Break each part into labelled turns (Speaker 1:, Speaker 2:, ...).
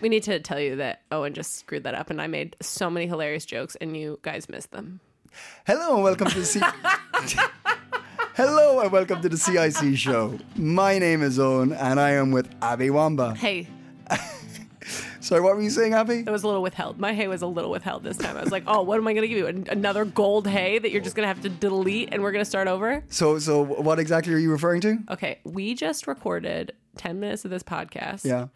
Speaker 1: We need to tell you that Owen just screwed that up, and I made so many hilarious jokes, and you guys missed them.
Speaker 2: Hello and welcome to the C- Hello and welcome to the CIC show. My name is Owen and I am with Abby Wamba.
Speaker 1: Hey,
Speaker 2: Sorry, what were you saying, Abby?
Speaker 1: that was a little withheld. My hay was a little withheld this time. I was like, oh, what am I going to give you? An- Another gold hay that you're just going to have to delete, and we're going to start over?
Speaker 2: So, so what exactly are you referring to?
Speaker 1: Okay, we just recorded 10 minutes of this podcast,
Speaker 2: Yeah,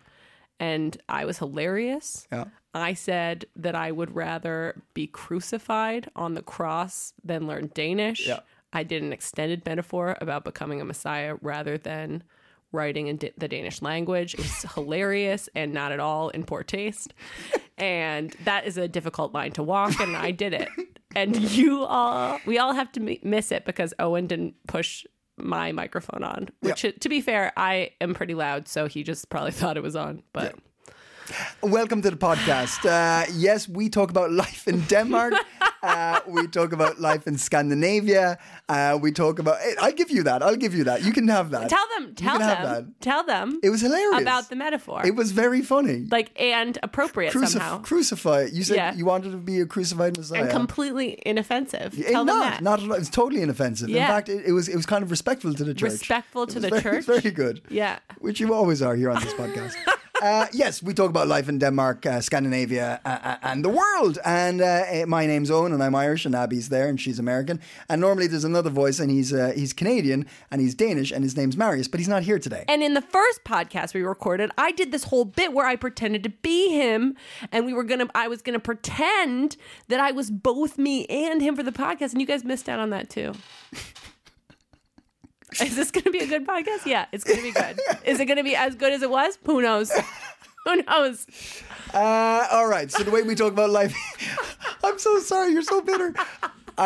Speaker 1: and I was hilarious.
Speaker 2: yeah.
Speaker 1: I said that I would rather be crucified on the cross than learn Danish.
Speaker 2: Yeah.
Speaker 1: I did an extended metaphor about becoming a messiah rather than writing in da- the Danish language. It was hilarious and not at all in poor taste. And that is a difficult line to walk, and I did it. And you all, we all have to mi- miss it because Owen didn't push my microphone on. Which, to be fair, I am pretty loud, so he just probably thought it was on. But
Speaker 2: Welcome to the podcast. Uh, yes, we talk about life in Denmark. Uh, we talk about life in Scandinavia. Uh, we talk about. Hey, I'll give you that. I'll give you that. You can have that.
Speaker 1: tell them tell
Speaker 2: can have
Speaker 1: them tell them
Speaker 2: It was hilarious.
Speaker 1: about the metaphor
Speaker 2: It was very funny.
Speaker 1: like and appropriate
Speaker 2: Crucif-
Speaker 1: somehow
Speaker 2: Crucify. You said
Speaker 1: Yeah.
Speaker 2: you wanted to be a crucified Messiah.
Speaker 1: and completely inoffensive
Speaker 2: Eh,
Speaker 1: tell them
Speaker 2: not,
Speaker 1: that
Speaker 2: not at all. It was totally inoffensive. In
Speaker 1: Yeah.
Speaker 2: fact, it, it was it was kind of respectful to the church.
Speaker 1: Respectful
Speaker 2: It
Speaker 1: to
Speaker 2: was
Speaker 1: the
Speaker 2: very,
Speaker 1: church?
Speaker 2: Very good.
Speaker 1: yeah
Speaker 2: Which you always are here on this podcast. Uh, yes, we talk about life in Denmark, uh, Scandinavia, uh, uh, and the world. And uh, eh, my name's Owen, and I'm Irish, and Abby's there, and she's American. And normally there's another voice, and he's uh, he's Canadian, and he's Danish, and his name's Marius, but he's not here today.
Speaker 1: and in the first podcast we recorded i did this whole bit where i pretended to be him and we were gonna i was gonna pretend that i was both me and him for the podcast and you guys missed out on that too is this gonna be a good podcast yeah it's gonna be good is it gonna be as good as it was who knows who knows
Speaker 2: Uh, all right. So the way we talk about life, I'm so sorry. You're so bitter.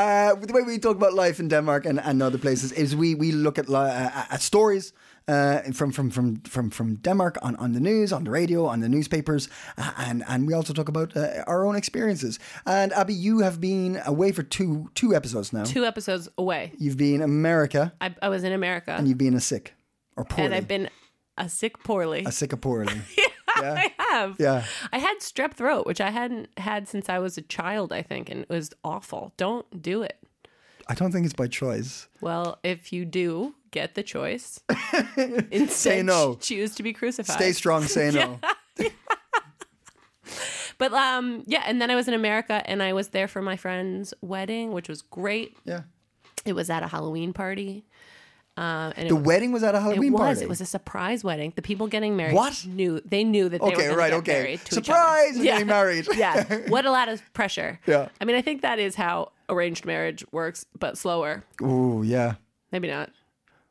Speaker 2: Uh, the way we talk about life in Denmark and, and other places is we we look at li- uh, at stories. Uh, from from from from from Denmark on, on the news, on the radio, on the newspapers, uh, and and we also talk about uh, our own experiences. And Abby, you have been away for two two episodes now.
Speaker 1: two episodes away
Speaker 2: You've been America,
Speaker 1: I, I was in America
Speaker 2: and you've been a sick or poorly,
Speaker 1: and I've been a sick poorly.
Speaker 2: a sick or poorly.
Speaker 1: I have.
Speaker 2: yeah.
Speaker 1: I had strep throat, which I hadn't had since I was a child, I think, and it was awful. Don't do it.
Speaker 2: I don't think it's by choice.
Speaker 1: Well, if you do get the choice, instead
Speaker 2: Say no.
Speaker 1: ch- choose to be crucified.
Speaker 2: Stay strong, say no.
Speaker 1: But um, yeah, and then I was in America, and I was there for my friend's wedding, which was great.
Speaker 2: Yeah.
Speaker 1: It was at a Halloween party. Um, and
Speaker 2: The
Speaker 1: it,
Speaker 2: wedding was at a Halloween
Speaker 1: it was
Speaker 2: party.
Speaker 1: it was a surprise wedding. The people getting married
Speaker 2: What?
Speaker 1: knew they knew that they were
Speaker 2: Okay,
Speaker 1: gonna
Speaker 2: right,
Speaker 1: get
Speaker 2: okay.
Speaker 1: married to each other.
Speaker 2: Surprise, we're getting married.
Speaker 1: yeah, what a lot of pressure.
Speaker 2: Yeah.
Speaker 1: I mean, I think that is how arranged marriage works, but slower.
Speaker 2: Ooh, yeah.
Speaker 1: Maybe not.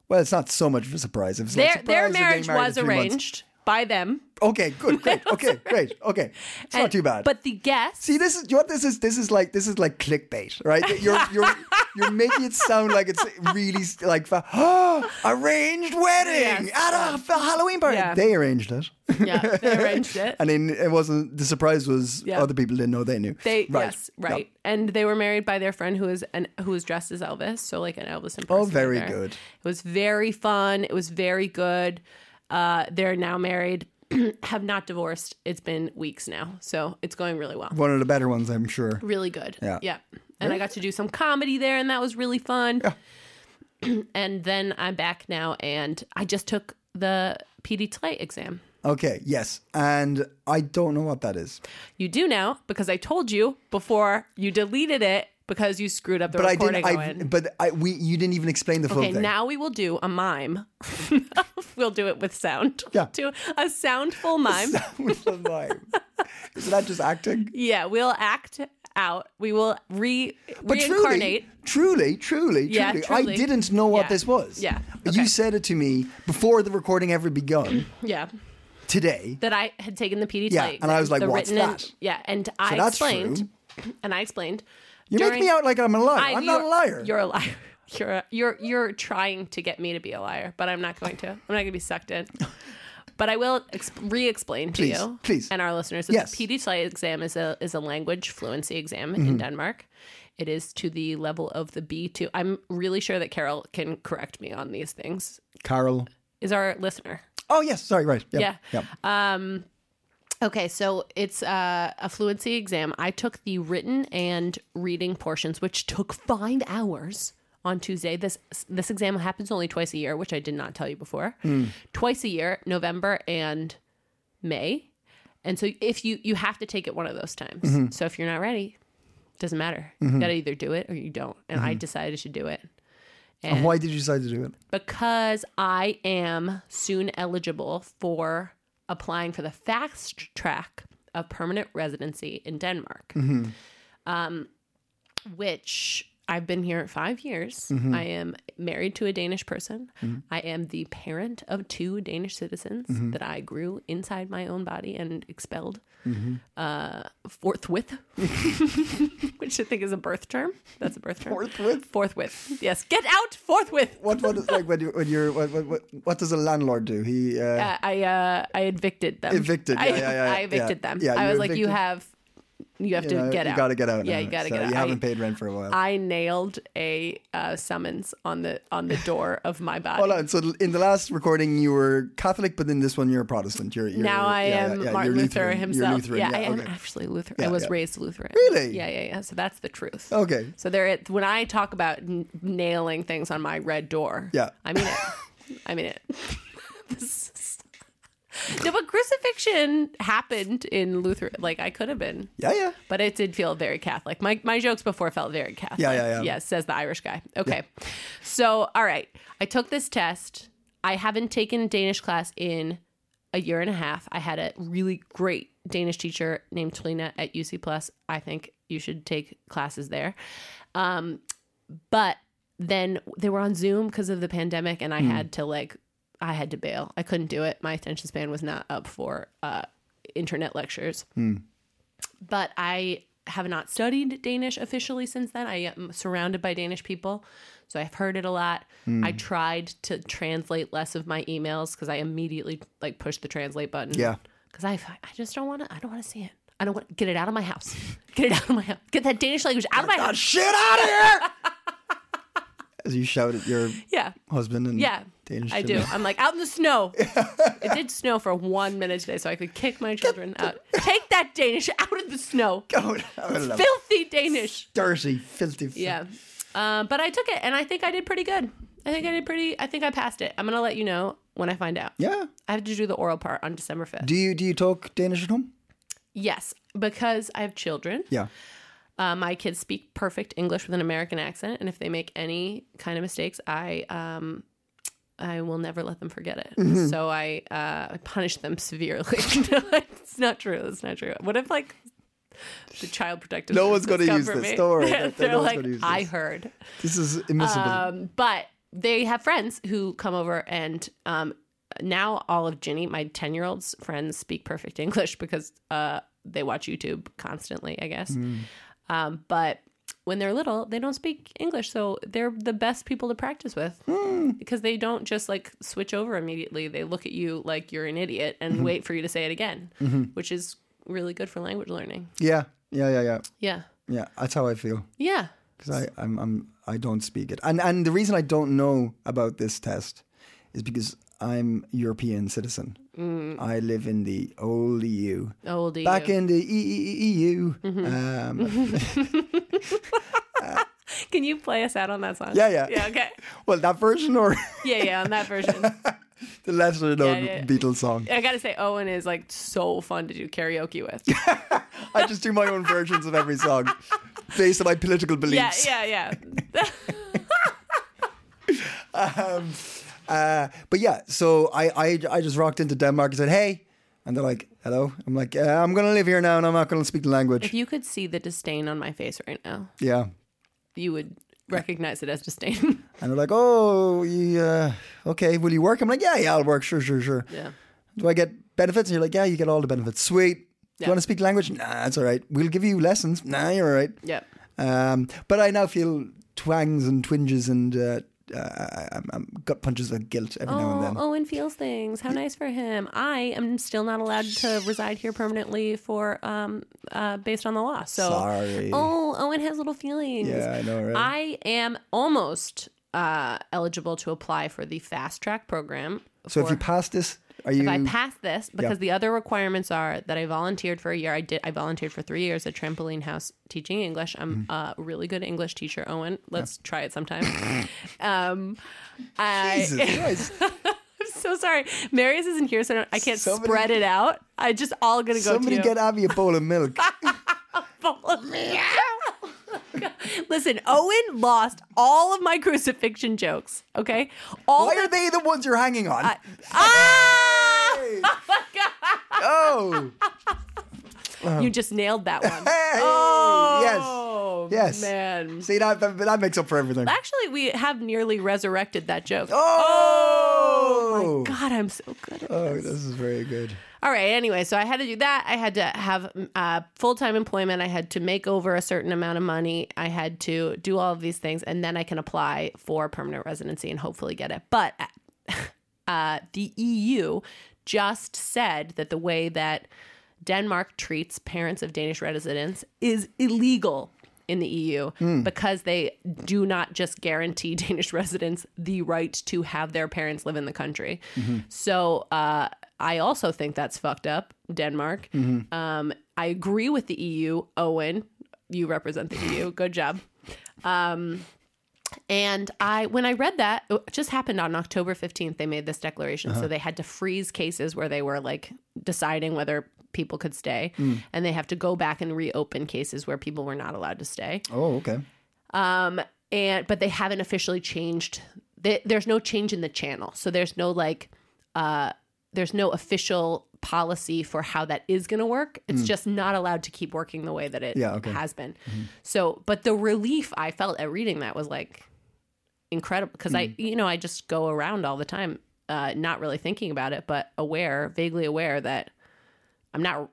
Speaker 2: Well, it's not so much of a surprise. It was like,
Speaker 1: Their their
Speaker 2: surprise, you're
Speaker 1: marriage
Speaker 2: getting married
Speaker 1: was
Speaker 2: in three months.
Speaker 1: arranged by them.
Speaker 2: Okay, good, great. Okay, great. Okay, it's not
Speaker 1: And-
Speaker 2: too bad.
Speaker 1: But the guests.
Speaker 2: see, this is you know what this is. This is like this is like clickbait, right? You're you're you're making it sound like it's really like fa- arranged wedding
Speaker 1: Yes.
Speaker 2: at a f- Halloween party.
Speaker 1: Yeah.
Speaker 2: They arranged it,
Speaker 1: yeah, they arranged it.
Speaker 2: and then it wasn't. The surprise was
Speaker 1: Yeah.
Speaker 2: other people didn't know they knew.
Speaker 1: They
Speaker 2: right.
Speaker 1: yes
Speaker 2: Yeah.
Speaker 1: right, and they were married by their friend who is an who was dressed as Elvis, so like an Elvis impersonator.
Speaker 2: Oh, very good.
Speaker 1: It was very fun. It was very good. Uh, they're now married, have not divorced. It's been weeks now, so it's going really well.
Speaker 2: One of the better ones, I'm sure.
Speaker 1: Really good.
Speaker 2: Yeah.
Speaker 1: And I got to do some comedy there, and that was really fun. and then I'm back now, and I just took the PD Tlay exam.
Speaker 2: Okay, yes, and I don't know what that is.
Speaker 1: You do now because I told you before you deleted it because you screwed up the
Speaker 2: But I
Speaker 1: recording.
Speaker 2: didn't. I,
Speaker 1: Owen.
Speaker 2: but I, we, you didn't even explain the full
Speaker 1: Okay,
Speaker 2: thing.
Speaker 1: now we will do a mime. we'll do it with sound.
Speaker 2: Yeah.
Speaker 1: Do a soundful mime.
Speaker 2: With the mime. Is that just acting?
Speaker 1: yeah, we'll act out. We will re
Speaker 2: But
Speaker 1: reincarnate.
Speaker 2: truly, truly, truly,
Speaker 1: Yeah,
Speaker 2: truly, I
Speaker 1: truly.
Speaker 2: didn't know what
Speaker 1: Yeah.
Speaker 2: this was.
Speaker 1: Yeah.
Speaker 2: You
Speaker 1: Okay.
Speaker 2: said it to me before the recording ever begun
Speaker 1: Yeah.
Speaker 2: today.
Speaker 1: That I had taken the PD
Speaker 2: Yeah, and I was like,
Speaker 1: the
Speaker 2: "What's
Speaker 1: written
Speaker 2: that?"
Speaker 1: And, yeah, and I
Speaker 2: that's
Speaker 1: explained, and I explained.
Speaker 2: You make me out like I'm a liar. I, am not a liar.
Speaker 1: You're a liar. You're a, you're you're trying to get me to be a liar, but I'm not going to. I'm not going to be sucked in. But I will ex- re-explain
Speaker 2: Please,
Speaker 1: to you,
Speaker 2: please.
Speaker 1: and our listeners. that
Speaker 2: Yes.
Speaker 1: The PD Slate exam is a is a language fluency exam
Speaker 2: Mm-hmm.
Speaker 1: in Denmark. It is to the level of the B2. I'm really sure that Carol can correct me on these things.
Speaker 2: Carol.
Speaker 1: Is our listener?
Speaker 2: Oh, yes. Sorry, right.
Speaker 1: Yeah.
Speaker 2: yeah.
Speaker 1: Um, okay, so it's uh, a fluency exam. I took the written and reading portions, which took five hours on Tuesday. This this exam happens only twice a year, which I did not tell you before. Twice a year, November and May. And so if you you have to take it one of those times. So if you're not ready, doesn't matter. You gotta either do it or you don't. And I decided to do it
Speaker 2: And why did you decide to do it?
Speaker 1: because I am soon eligible for applying for the fast track of permanent residency in Denmark, um, which I've been here five years. I am married to a Danish person. I am the parent of two Danish citizens that I grew inside my own body and expelled uh, forthwith, which I think is a birth term. That's a birth term.
Speaker 2: Forthwith?
Speaker 1: Forthwith. Yes. Get out forthwith.
Speaker 2: What, what is like when, you, when you're, what, what, what, what does a landlord do? He, uh,
Speaker 1: Uh, I uh, I evicted them.
Speaker 2: Evicted,
Speaker 1: I,
Speaker 2: yeah, yeah, yeah,
Speaker 1: I evicted
Speaker 2: yeah.
Speaker 1: them.
Speaker 2: Yeah,
Speaker 1: I
Speaker 2: you
Speaker 1: was like, you
Speaker 2: evicted-
Speaker 1: have, you have
Speaker 2: you
Speaker 1: to
Speaker 2: know,
Speaker 1: get
Speaker 2: you
Speaker 1: out.
Speaker 2: gotta get out.
Speaker 1: Yeah,
Speaker 2: now.
Speaker 1: you gotta
Speaker 2: So
Speaker 1: get out.
Speaker 2: You haven't
Speaker 1: I,
Speaker 2: paid rent for a while.
Speaker 1: I nailed a uh, summons on the on the door of my body.
Speaker 2: Hold on. So in the last recording, you were Catholic, but in this one, you're a Protestant. You're, you're
Speaker 1: now I
Speaker 2: yeah, yeah,
Speaker 1: am
Speaker 2: yeah,
Speaker 1: Martin
Speaker 2: you're
Speaker 1: Luther
Speaker 2: Lutheran.
Speaker 1: himself.
Speaker 2: You're Lutheran.
Speaker 1: yeah,
Speaker 2: Yeah,
Speaker 1: I am
Speaker 2: okay.
Speaker 1: actually Lutheran.
Speaker 2: Yeah,
Speaker 1: I was
Speaker 2: yeah.
Speaker 1: raised Lutheran.
Speaker 2: Really? Oh,
Speaker 1: Yeah, yeah, yeah. So that's the truth.
Speaker 2: Okay.
Speaker 1: So there, it, when I talk about n- nailing things on my red door,
Speaker 2: Yeah.
Speaker 1: I mean it. I mean it. This is- no, but crucifixion happened in Luther. Like I could have been,
Speaker 2: Yeah, yeah.
Speaker 1: but it did feel very Catholic. My my jokes before felt very Catholic.
Speaker 2: Yeah, yeah, yeah.
Speaker 1: Yes, says the Irish guy. Okay, so all right, I took this test. I haven't taken a Danish class in a year and a half. I had a really great Danish teacher named Tolina at UC Plus. I think you should take classes there. Um, but then they were on Zoom because of the pandemic, and I had to like, I had to bail. I couldn't do it. My attention span was not up for uh, internet lectures. But I have not studied Danish officially since then. I am surrounded by Danish people, so I've heard it a lot. I tried to translate less of my emails because I immediately like pushed the translate button.
Speaker 2: Yeah.
Speaker 1: because I I just don't want to. I don't want to see it. I don't want get it out of my house. Get it out of my house. Get that Danish language out of my house.
Speaker 2: Shit out of here! As you shout at your
Speaker 1: Yeah.
Speaker 2: husband and
Speaker 1: Yeah,
Speaker 2: Danish
Speaker 1: I do.
Speaker 2: children.
Speaker 1: I'm like out in the snow. it did snow for one minute today, so I could kick my children out. Take that Danish out of the snow,
Speaker 2: Oh, I love it.
Speaker 1: filthy Danish.
Speaker 2: dirty, filthy. f-
Speaker 1: Yeah, um, but I took it, and I think I did pretty good. I think I did pretty. I think I passed it. I'm gonna let you know when I find out.
Speaker 2: Yeah.
Speaker 1: I have to do the oral part on December 5th.
Speaker 2: Do you do you talk Danish at home?
Speaker 1: yes, because I have children.
Speaker 2: Yeah.
Speaker 1: Uh, my kids speak perfect English with an American accent, and if they make any kind of mistakes, I um, I will never let them forget it.
Speaker 2: Mm-hmm.
Speaker 1: So I uh, I punish them severely. No, it's not true. It's not true. What if like the child protective?
Speaker 2: No one's
Speaker 1: Services
Speaker 2: gonna
Speaker 1: come
Speaker 2: use
Speaker 1: for
Speaker 2: this.
Speaker 1: me?
Speaker 2: Don't worry.
Speaker 1: They're,
Speaker 2: No- no one's
Speaker 1: like,
Speaker 2: gonna use
Speaker 1: I
Speaker 2: this."
Speaker 1: heard,
Speaker 2: This is immiscible.
Speaker 1: um, but they have friends who come over and. Um, now all of Ginny, my ten year old's friends speak perfect English because uh, they watch YouTube constantly. I guess.
Speaker 2: Hmm.
Speaker 1: Um, but when they're little, they don't speak English, so they're the best people to practice with
Speaker 2: Hmm.
Speaker 1: because they don't just like switch over immediately. They look at you like you're an idiot and
Speaker 2: Mm-hmm.
Speaker 1: wait for you to say it again, which is really good for language learning.
Speaker 2: yeah. Yeah. Yeah. Yeah.
Speaker 1: Yeah,
Speaker 2: Yeah. That's how I feel
Speaker 1: yeah,
Speaker 2: because I I'm, I'm I don't speak it, and and the reason I don't know about this test is because I'm European citizen. I live in the old EU.
Speaker 1: Mm. old you.
Speaker 2: Back in the e- e- e- EU.
Speaker 1: Mm-hmm.
Speaker 2: Um,
Speaker 1: Can you play us out on that song?
Speaker 2: Yeah, yeah.
Speaker 1: yeah. Okay,
Speaker 2: well, that version or
Speaker 1: yeah, yeah. On that version,
Speaker 2: the lesser known
Speaker 1: yeah.
Speaker 2: Beatles song.
Speaker 1: I gotta say, Owen is like so fun to do karaoke with.
Speaker 2: I just do my own versions of every song based on my political
Speaker 1: yeah,
Speaker 2: beliefs.
Speaker 1: yeah, yeah.
Speaker 2: Uh, but yeah, so I, I I just rocked into Denmark and said, "Hey, And they're like, hello? I'm like, yeah, I'm going to live here now and I'm not going to speak the language.
Speaker 1: If you could see the disdain on my face right now,
Speaker 2: yeah.
Speaker 1: you would recognize it as disdain.
Speaker 2: And they're like, oh, you, uh, okay, will you work? I'm like, yeah, yeah, I'll work. Sure, sure, sure.
Speaker 1: yeah.
Speaker 2: Do I get benefits? And you're like, yeah, you get all the benefits. Sweet. Do
Speaker 1: Yeah.
Speaker 2: you want to speak language? Nah, it's all right. We'll give you lessons. Nah, you're all right.
Speaker 1: Yep.
Speaker 2: Um, but I now feel twangs and twinges and uh, uh, I'm, I'm gut punches of guilt every now and
Speaker 1: Oh,
Speaker 2: then.
Speaker 1: Owen feels things. How nice for him. I am still not allowed to reside here permanently for um uh based on the law. So
Speaker 2: Sorry.
Speaker 1: Oh, Owen has little feelings.
Speaker 2: Yeah, I know, right?
Speaker 1: I am almost uh eligible to apply for the fast track program.
Speaker 2: so if
Speaker 1: for-
Speaker 2: you pass this, are you?
Speaker 1: oh. if I pass this, because the other requirements are that I volunteered for a year. I did. I volunteered for three years at Trampoline House teaching English.
Speaker 2: Mm.
Speaker 1: I'm a really good English teacher, Owen. Let's try it sometime. um, I,
Speaker 2: Jesus Christ.
Speaker 1: I'm so sorry. Marius isn't here, so I, don't- I can't
Speaker 2: Somebody-
Speaker 1: spread it out. I just all gonna go
Speaker 2: Somebody
Speaker 1: to
Speaker 2: get Abby a bowl of milk.
Speaker 1: Listen, Owen lost all of my crucifixion jokes. Okay, all
Speaker 2: Why
Speaker 1: the
Speaker 2: are they the ones you're hanging on?
Speaker 1: ah.
Speaker 2: oh,
Speaker 1: You just nailed that one.
Speaker 2: Hey,
Speaker 1: oh,
Speaker 2: yes. Yes.
Speaker 1: man.
Speaker 2: see that, that that makes up for everything.
Speaker 1: Actually, we have nearly resurrected that joke.
Speaker 2: Oh,
Speaker 1: God, I'm so good at
Speaker 2: Oh,
Speaker 1: this.
Speaker 2: this is very good.
Speaker 1: All right. Anyway, so I had to do that. I had to have uh, full time employment. I had to make over a certain amount of money. I had to do all of these things, and then I can apply for permanent residency and hopefully get it. But uh, the EU just said that the way that Denmark treats parents of Danish residents is illegal in the EU because they do not just guarantee Danish residents the right to have their parents live in the country. So uh, I also think that's fucked up, Denmark. Um, I agree with the EU. Owen, you represent the EU. Good job. And I, when I read that, it just happened on October 15th, they made this declaration. So they had to freeze cases where they were like deciding whether people could stay. And they have to go back and reopen cases where people were not allowed to stay.
Speaker 2: Oh, okay.
Speaker 1: Um, and, but they haven't officially changed. They, there's no change in the channel. So there's no like, uh, there's no official policy for how that is going to work. It's just not allowed to keep working the way that it
Speaker 2: Mm. Yeah, okay. Mm-hmm.
Speaker 1: has been. So, but the relief I felt at reading that was like, incredible because
Speaker 2: Mm.
Speaker 1: I, you know, I just go around all the time, uh, not really thinking about it, but aware, vaguely aware that I'm not.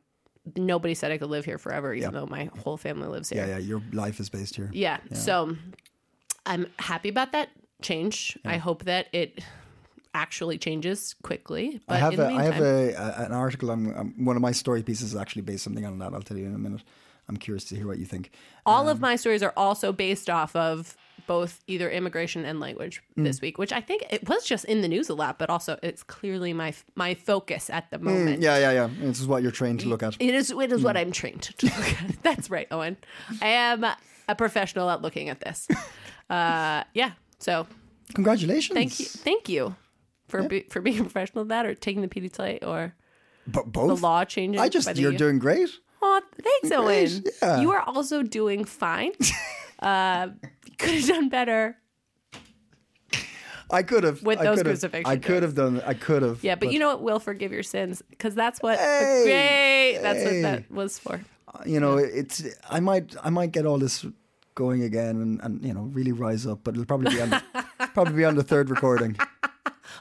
Speaker 1: Nobody said I could live here forever, even though my whole family lives here.
Speaker 2: Yeah, yeah. Your life is based here.
Speaker 1: Yeah. So I'm happy about that change. I hope that it actually changes quickly. But
Speaker 2: I have
Speaker 1: in
Speaker 2: a,
Speaker 1: the
Speaker 2: I
Speaker 1: meantime,
Speaker 2: have a, a an article. I'm, I'm one of my story pieces is actually based something on that. I'll tell you in a minute. I'm curious to hear what you think.
Speaker 1: all of my stories are also based off of both either immigration and language
Speaker 2: Mm.
Speaker 1: this week, which I think it was just in the news a lot, but also it's clearly my my focus at the moment.
Speaker 2: Mm, Yeah, Mm. yeah, yeah. This is what you're trained to look at.
Speaker 1: It is. It is what I'm trained to look at. That's right, Owen. I am a professional at looking at this. Uh, yeah. So
Speaker 2: Congratulations.
Speaker 1: thank you, thank you for be, for being a professional at that, or taking the PDT or
Speaker 2: But
Speaker 1: the
Speaker 2: both.
Speaker 1: law changes.
Speaker 2: I just
Speaker 1: by the
Speaker 2: you're
Speaker 1: U-
Speaker 2: doing great.
Speaker 1: Aw, thanks, Owen.
Speaker 2: Great, yeah.
Speaker 1: You are also doing fine. uh, could have done better.
Speaker 2: I could have
Speaker 1: With
Speaker 2: I
Speaker 1: those
Speaker 2: could have-
Speaker 1: crucifixion
Speaker 2: I could have done. I could have.
Speaker 1: Yeah, but, you know what? Will forgive your sins because that's what.
Speaker 2: Hey,
Speaker 1: great. That's what
Speaker 2: hey.
Speaker 1: that was for.
Speaker 2: you know, it's I might I might get all this going again and, and you know really rise up, but it'll probably be on the, probably be on the third recording.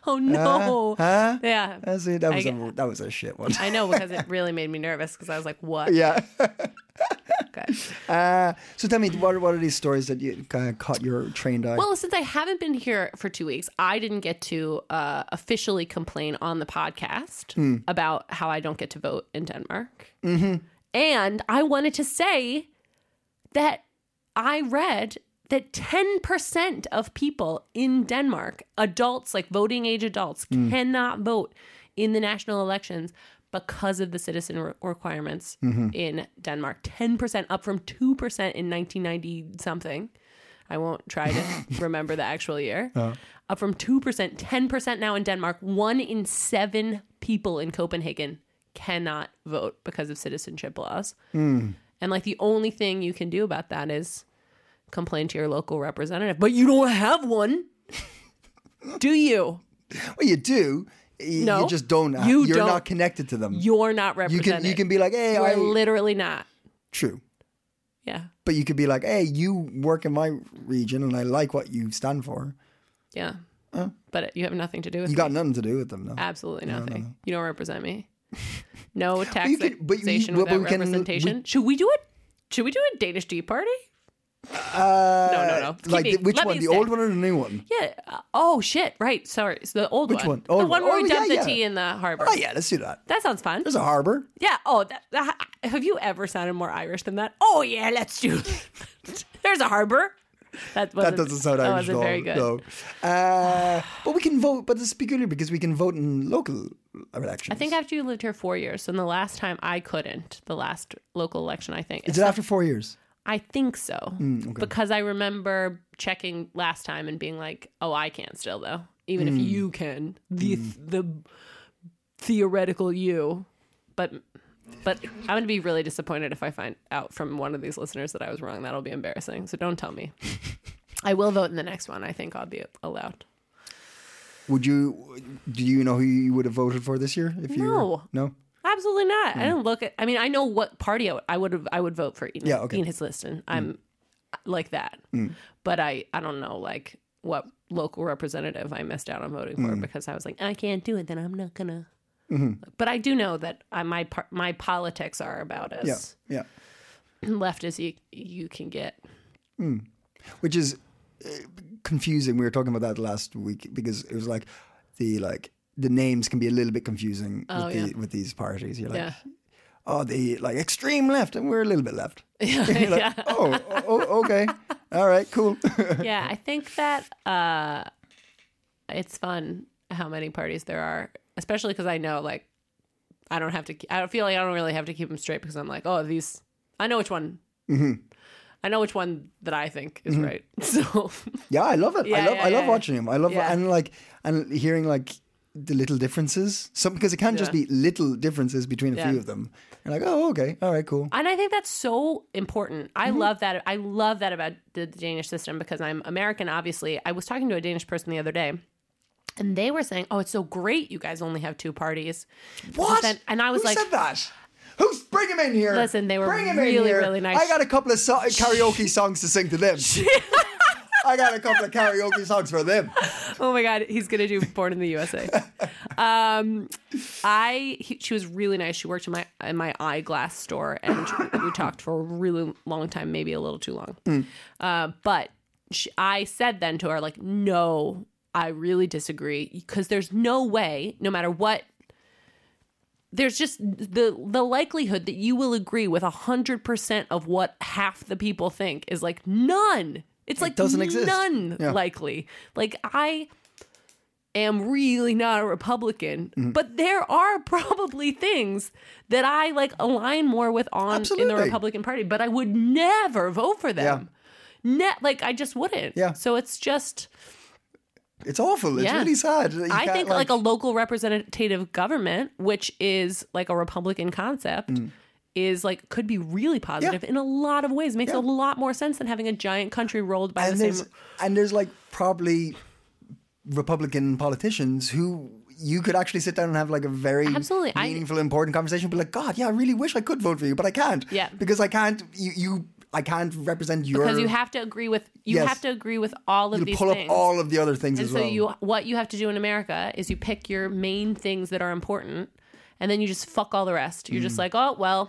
Speaker 1: Oh no.
Speaker 2: Uh, Huh?
Speaker 1: Yeah.
Speaker 2: I see, that was
Speaker 1: I
Speaker 2: a, that was a shit one.
Speaker 1: I know because it really made me nervous because I was like, what?
Speaker 2: yeah.
Speaker 1: Okay.
Speaker 2: Uh, so tell me, what are- what are these stories that you kind of caught your trained eye?
Speaker 1: Well, since I haven't been here for two weeks, I didn't get to uh, officially complain on the podcast about how I don't get to vote in Denmark. Mm-hmm. And I wanted to say that I read that 10% of people in Denmark, adults, like voting age adults, cannot vote in the national elections because of the citizen re- requirements in Denmark. 10% up from 2% in 1990 something. I won't try to remember the actual year. Up from 2%, 10% now in Denmark. One in seven people in Copenhagen cannot vote because of citizenship laws. And like the only thing you can do about that is complain to your local representative. But you don't have one. do you?
Speaker 2: Well, you do. Y-
Speaker 1: No.
Speaker 2: you just don't.
Speaker 1: You
Speaker 2: You're
Speaker 1: don't.
Speaker 2: not connected to them.
Speaker 1: You're not
Speaker 2: you
Speaker 1: represented.
Speaker 2: can you can be like, hey,
Speaker 1: You
Speaker 2: I
Speaker 1: are literally not.
Speaker 2: true.
Speaker 1: Yeah.
Speaker 2: But you could be like, hey, you work in my region, and I like what you stand for.
Speaker 1: Yeah. But it- you have nothing to do with me.
Speaker 2: You got nothing to do with them, though.
Speaker 1: Absolutely nothing. You don't represent me. No
Speaker 2: you can-
Speaker 1: taxation
Speaker 2: but you- but
Speaker 1: without
Speaker 2: we can-
Speaker 1: representation. should we do it? Should we do a Danish tea party?
Speaker 2: Uh,
Speaker 1: No, no, no. Keep
Speaker 2: Like
Speaker 1: me-
Speaker 2: the- which
Speaker 1: let me
Speaker 2: one? The
Speaker 1: stay.
Speaker 2: old one or the new one?
Speaker 1: Yeah. uh, Oh shit. Right. Sorry. It's the old
Speaker 2: Which one?
Speaker 1: The
Speaker 2: Old
Speaker 1: one
Speaker 2: one.
Speaker 1: where we
Speaker 2: Oh, yeah,
Speaker 1: dump
Speaker 2: yeah.
Speaker 1: the tea in the harbor.
Speaker 2: Oh yeah, let's do that.
Speaker 1: That sounds fun.
Speaker 2: There's a harbor.
Speaker 1: Yeah. Oh, that, that- have you ever sounded more Irish than that? Oh yeah, let's do. that. There's a harbor. That,
Speaker 2: That
Speaker 1: wasn't,
Speaker 2: doesn't sound
Speaker 1: that
Speaker 2: Irish
Speaker 1: wasn't
Speaker 2: at all.
Speaker 1: Oh, very good.
Speaker 2: No. Uh, but we can vote. But this is peculiar because we can vote in local
Speaker 1: I
Speaker 2: elections.
Speaker 1: think after you lived here four years, and the last time I couldn't, the last local election, I think.
Speaker 2: is it after four years?
Speaker 1: I think so. Because I remember checking last time and being like, oh, I can't still, though. Even if you can, the, the theoretical you. But. But I'm going to be really disappointed if I find out from one of these listeners that I was wrong. That'll be embarrassing. So don't tell me. I will vote in the next one. I think I'll be allowed.
Speaker 2: Would you? Do you know who you would have voted for this year? If you
Speaker 1: No.
Speaker 2: no.
Speaker 1: Absolutely not.
Speaker 2: Hmm.
Speaker 1: I didn't look at. I mean, I know what party I would. I would have. I would vote for Ian.
Speaker 2: Yeah, okay. Hmm.
Speaker 1: Ian Hisliston. I'm like that. But I. I don't know like what local representative I missed out on voting for
Speaker 2: Hmm.
Speaker 1: because I was like, I can't do it. Then I'm not gonna.
Speaker 2: Mm-hmm.
Speaker 1: But I do know that I, my par- my politics are about
Speaker 2: Yeah.
Speaker 1: as
Speaker 2: Yeah.
Speaker 1: left as you you can get.
Speaker 2: which is uh, confusing. We were talking about that last week because it was like the like the names can be a little bit confusing with, the, with these parties. You're like,
Speaker 1: Oh, Yeah.
Speaker 2: oh, the like extreme left, and we're a little bit left. You're like,
Speaker 1: yeah.
Speaker 2: oh, o- o- okay, all right, cool.
Speaker 1: yeah, I think that uh, it's fun how many parties there are, especially because I know like I don't have to. I don't feel like I don't really have to keep them straight because I'm like, oh, these. I know which one. I know which one that I think is right. So
Speaker 2: yeah, I love it. I
Speaker 1: Yeah,
Speaker 2: love
Speaker 1: yeah,
Speaker 2: I love
Speaker 1: yeah.
Speaker 2: watching him. I love
Speaker 1: Yeah.
Speaker 2: and like and hearing like the little differences. Some because it can't just
Speaker 1: Yeah.
Speaker 2: be little differences between a
Speaker 1: Yeah.
Speaker 2: few of them. You're like, oh, okay, all right, cool.
Speaker 1: And I think that's so important. I love that. I love that about the Danish system because I'm American, obviously. I was talking to a Danish person the other day. And they were saying, "Oh, it's so great! You guys only have two parties." Because
Speaker 2: What?
Speaker 1: then- and I was
Speaker 2: Who
Speaker 1: like,
Speaker 2: said that? Who's bring him in here?
Speaker 1: Listen, they were
Speaker 2: bring him in
Speaker 1: really,
Speaker 2: here.
Speaker 1: really nice.
Speaker 2: I got a couple of so- karaoke songs to sing to them. I got a couple of karaoke songs for them.
Speaker 1: oh my god, he's gonna do Born in the USA. Um, I he, she was really nice. She worked in my in my eyeglass store, and we talked for a really long time, maybe a little too long.
Speaker 2: Hmm.
Speaker 1: Uh, but she, I said then to her like, no, I really disagree because there's no way, no matter what there's just the the likelihood that you will agree with 100% of what half the people think is like none it's like
Speaker 2: doesn't exist.
Speaker 1: none
Speaker 2: Yeah.
Speaker 1: likely like i am really not a republican
Speaker 2: Mm-hmm.
Speaker 1: but there are probably things that i like align more with on in
Speaker 2: Absolutely.
Speaker 1: the republican party but i would never vote for them Ne- like i just wouldn't
Speaker 2: Yeah.
Speaker 1: so it's just
Speaker 2: It's awful. It's
Speaker 1: Yeah.
Speaker 2: really sad. that you
Speaker 1: I
Speaker 2: can't,
Speaker 1: think like, a local representative government, which is like a Republican concept,
Speaker 2: Mm.
Speaker 1: is like could be really positive in a lot of ways. Makes a lot more sense than having a giant country rolled by
Speaker 2: and
Speaker 1: the
Speaker 2: there's
Speaker 1: same.
Speaker 2: and there's like probably Republican politicians who you could actually sit down and have like a very
Speaker 1: Absolutely. I-
Speaker 2: meaningful, important conversation. Be like, God, yeah, I really wish I could vote for you, but I can't.
Speaker 1: Yeah.
Speaker 2: because I can't. You, you I can't represent your.
Speaker 1: Because you have to agree with you
Speaker 2: Yes.
Speaker 1: have to agree with all of
Speaker 2: You'll
Speaker 1: these
Speaker 2: pull
Speaker 1: things.
Speaker 2: up all of the other things
Speaker 1: and
Speaker 2: as
Speaker 1: so
Speaker 2: well.
Speaker 1: you what you have to do in America is you pick your main things that are important, and then you just fuck all the rest. You're
Speaker 2: Mm.
Speaker 1: just like, oh well,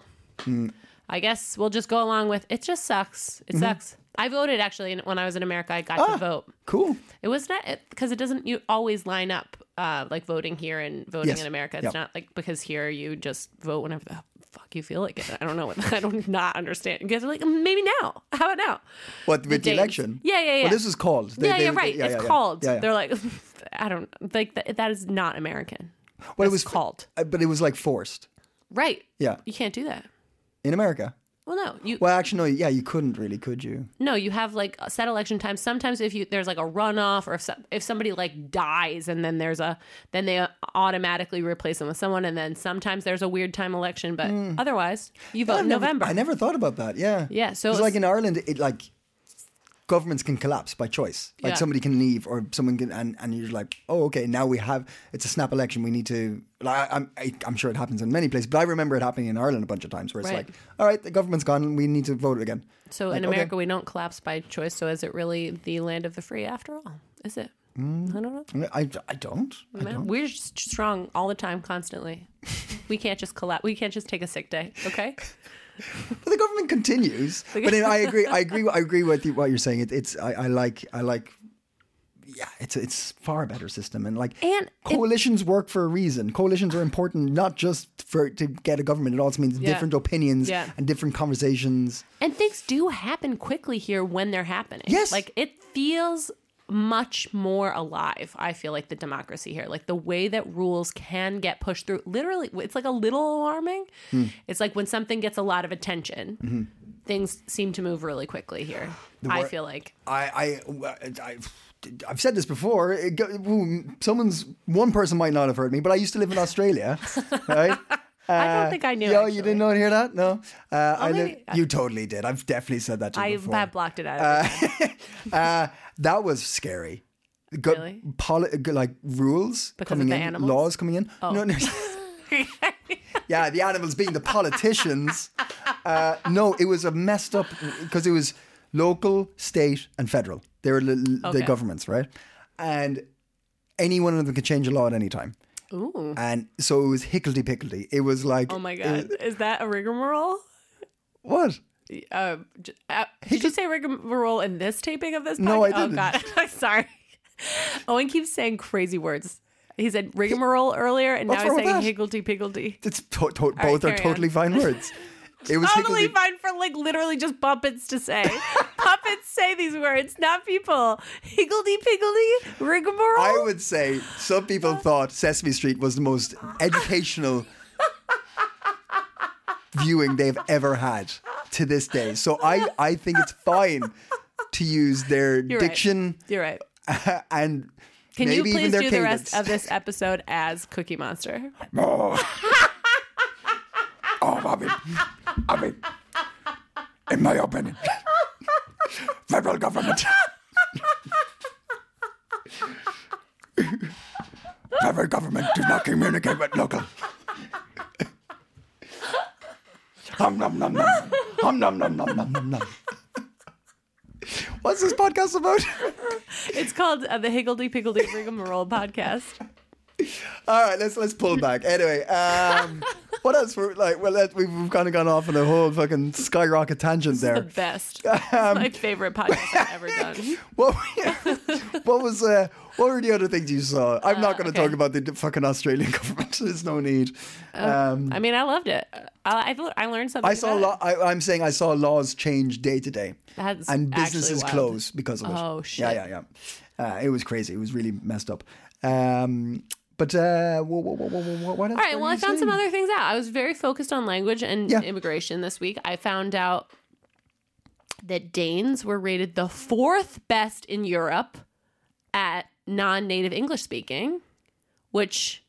Speaker 1: I guess we'll just go along with it. Just sucks.
Speaker 2: Mm-hmm.
Speaker 1: It sucks. I voted actually in- when I was in America. I
Speaker 2: Ah.
Speaker 1: got to vote.
Speaker 2: cool.
Speaker 1: It was not because it, doesn't you always line up uh, like voting here and voting
Speaker 2: Yes.
Speaker 1: in America. It's
Speaker 2: Yep.
Speaker 1: not like because here you just vote whenever the fuck you feel like it. I don't know. What, I don't not understand. You guys are like maybe now. How about now?
Speaker 2: What with the,
Speaker 1: Danes.
Speaker 2: election?
Speaker 1: Yeah, yeah, yeah.
Speaker 2: Well, this was called. They-
Speaker 1: yeah,
Speaker 2: they-
Speaker 1: yeah, right.
Speaker 2: yeah,
Speaker 1: it's
Speaker 2: yeah, yeah.
Speaker 1: called.
Speaker 2: Yeah, yeah.
Speaker 1: They're like, I don't like that. That is not American.
Speaker 2: Well, it
Speaker 1: That's
Speaker 2: was
Speaker 1: called.
Speaker 2: Uh, but it was like forced
Speaker 1: Right.
Speaker 2: Yeah.
Speaker 1: You can't do that.
Speaker 2: in America.
Speaker 1: Well, no. You
Speaker 2: Well, actually, no. Yeah, you couldn't really, could you?
Speaker 1: no. You have like a set election time. Sometimes if you there's like a runoff or if some, if somebody like dies and then there's a then they automatically replace them with someone and then sometimes there's a weird time election. But otherwise, you vote
Speaker 2: I've
Speaker 1: in
Speaker 2: never-
Speaker 1: November.
Speaker 2: I never thought about that. Yeah.
Speaker 1: Yeah, so
Speaker 2: it's
Speaker 1: it's-
Speaker 2: like in Ireland, it like governments can collapse by choice. Like
Speaker 1: Yeah.
Speaker 2: somebody can leave, or someone can, and, and you're like, oh, okay, now we have it's a snap election. We need to. Like, I, I'm I, I'm sure it happens in many places, but I remember it happening in Ireland a bunch of times where it's
Speaker 1: Right.
Speaker 2: like, all right, the government's gone, we need to vote again.
Speaker 1: So in America, we don't collapse by choice. So is it really the land of the free after all? Is it? I don't know.
Speaker 2: I, I don't. I
Speaker 1: Man, we're just strong all the time, constantly. we can't just collapse. We can't just take a sick day. Okay.
Speaker 2: But the government continues. but then I agree. I agree. I agree with you, what you're saying. It, it's I, I like. I like. Yeah, it's it's far better system, and like
Speaker 1: And it-
Speaker 2: coalitions work for a reason. Coalitions are important not just for to get a government. It also means
Speaker 1: Yeah.
Speaker 2: different opinions
Speaker 1: Yeah.
Speaker 2: and different conversations.
Speaker 1: And things do happen quickly here when they're happening.
Speaker 2: Yes.
Speaker 1: Like it feels much more alive, I feel like the democracy here. Like the way that rules can get pushed through. Literally, it's like a little alarming.
Speaker 2: Hmm.
Speaker 1: It's like when something gets a lot of attention, things seem to move really quickly here. I
Speaker 2: Mm-hmm. wor-
Speaker 1: feel like.
Speaker 2: I I I. I've said this before. It go- ooh, Someone's one person might not have heard me, but I used to live in Australia, right?
Speaker 1: I don't think I knew.
Speaker 2: Uh, Yo,
Speaker 1: actually.
Speaker 2: you didn't know hear that? No, uh, I live,
Speaker 1: maybe-
Speaker 2: you totally did. I've definitely said that to you
Speaker 1: I
Speaker 2: before.
Speaker 1: that blocked it out. of my mind.
Speaker 2: uh, that was scary. Go,
Speaker 1: Really?
Speaker 2: poli- go- like rules
Speaker 1: Because of
Speaker 2: coming
Speaker 1: the
Speaker 2: in,
Speaker 1: animals? Oh.
Speaker 2: laws coming in. No, no. yeah, the animals being the politicians. Uh, no, it was a messed up because it was local, state, and federal. They were li- the
Speaker 1: Okay.
Speaker 2: governments, right? And any one of them could change a law at any time. Ooh. And so it was hickledy pickledy. It was like, uh,
Speaker 1: oh my god, is that a rigmarole?
Speaker 2: what?
Speaker 1: Um, j- uh, did you say rigmarole in this taping of this? Podcast?
Speaker 2: No, I
Speaker 1: Oh
Speaker 2: didn't.
Speaker 1: god, I'm sorry. Owen keeps saying crazy words. He said rigmarole earlier, and
Speaker 2: What's
Speaker 1: now he's
Speaker 2: wrong with
Speaker 1: saying
Speaker 2: that?
Speaker 1: higgledy piggledy.
Speaker 2: It's to- to- both are
Speaker 1: carry on.
Speaker 2: totally fine words. It was
Speaker 1: Totally
Speaker 2: hickledy-
Speaker 1: fine for like literally just puppets to say. puppets say these words, not people. Higgledy piggledy, rigmarole.
Speaker 2: I would say some people thought Sesame Street was the most educational viewing they've ever had to this day. So I, I think it's fine to use their
Speaker 1: You're right.
Speaker 2: diction
Speaker 1: You're right.
Speaker 2: and
Speaker 1: Can
Speaker 2: maybe
Speaker 1: you
Speaker 2: even
Speaker 1: please
Speaker 2: their
Speaker 1: do the
Speaker 2: cadence.
Speaker 1: rest of this episode as Cookie Monster?
Speaker 2: oh, oh, I mean, I mean, in my opinion, federal government. federal government do not communicate with local. Hum nom nom nom. Hum nom nom nom nom nom nom. What's this podcast about?
Speaker 1: It's called uh, the Higgledy Piggledy Rigmarole Podcast.
Speaker 2: All right, let's let's pull back. Anyway, um, what else? Were, like, well, that, we've, we've kind of gone off on a whole fucking skyrocket tangent
Speaker 1: The
Speaker 2: there. Um,
Speaker 1: best. It's my favorite podcast I've ever done.
Speaker 2: What, what was uh, what were the other things you saw? I'm not going to talk
Speaker 1: Uh, okay.
Speaker 2: about the d- fucking Australian government. There's no need. Um,
Speaker 1: I mean, I loved it. I, I, thel- I learned something.
Speaker 2: I saw.
Speaker 1: about
Speaker 2: Lo- I, I'm saying I saw laws change day to day,
Speaker 1: That's
Speaker 2: and
Speaker 1: actually
Speaker 2: businesses
Speaker 1: wild.
Speaker 2: close because of it.
Speaker 1: Oh, shit.
Speaker 2: Yeah, yeah, yeah. Uh, it was crazy. It was really messed up. Um, but uh, what, what, what, what, what else?
Speaker 1: All right.
Speaker 2: were
Speaker 1: Well, I
Speaker 2: you
Speaker 1: found some
Speaker 2: seeing?
Speaker 1: other things out. I was very focused on language and
Speaker 2: Yeah.
Speaker 1: immigration this week. I found out that Danes were rated the fourth best in Europe at non-native English speaking, which,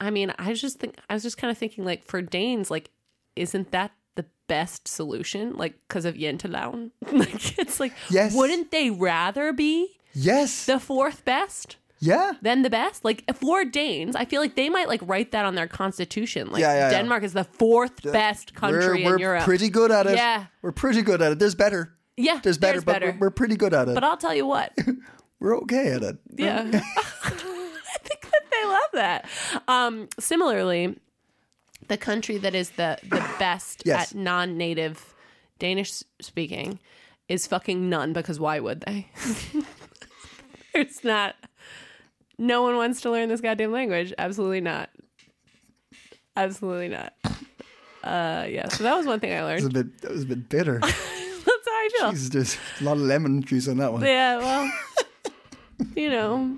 Speaker 1: I mean, I just think I was just kind of thinking like for Danes, like, isn't that the best solution? Like, because of Yentelaun, like it's like,
Speaker 2: Yes.
Speaker 1: wouldn't they rather be
Speaker 2: Yes.
Speaker 1: the fourth best?
Speaker 2: yeah.
Speaker 1: then the best. Like for Danes, I feel like they might like write that on their constitution. Like
Speaker 2: Yeah, yeah, yeah.
Speaker 1: Denmark is the fourth best country
Speaker 2: we're, we're
Speaker 1: in Europe.
Speaker 2: pretty good at it.
Speaker 1: Yeah.
Speaker 2: We're pretty good at it. There's better.
Speaker 1: Yeah,
Speaker 2: There's better,
Speaker 1: there's
Speaker 2: but
Speaker 1: better.
Speaker 2: We're, we're pretty good at it.
Speaker 1: but I'll tell you what,
Speaker 2: we're okay at it.
Speaker 1: yeah, I think that they love that. Um, similarly, the country that is the the best
Speaker 2: Yes.
Speaker 1: at non-native Danish speaking is fucking none because why would they? It's not. No one wants to learn this goddamn language. Absolutely not. Absolutely not. Uh, yeah. So that was one thing I
Speaker 2: That was a
Speaker 1: learned.
Speaker 2: bit, that was a bit bitter.
Speaker 1: That's how I feel.
Speaker 2: Jesus, there's a lot of lemon juice on that one.
Speaker 1: Yeah. Well, you know,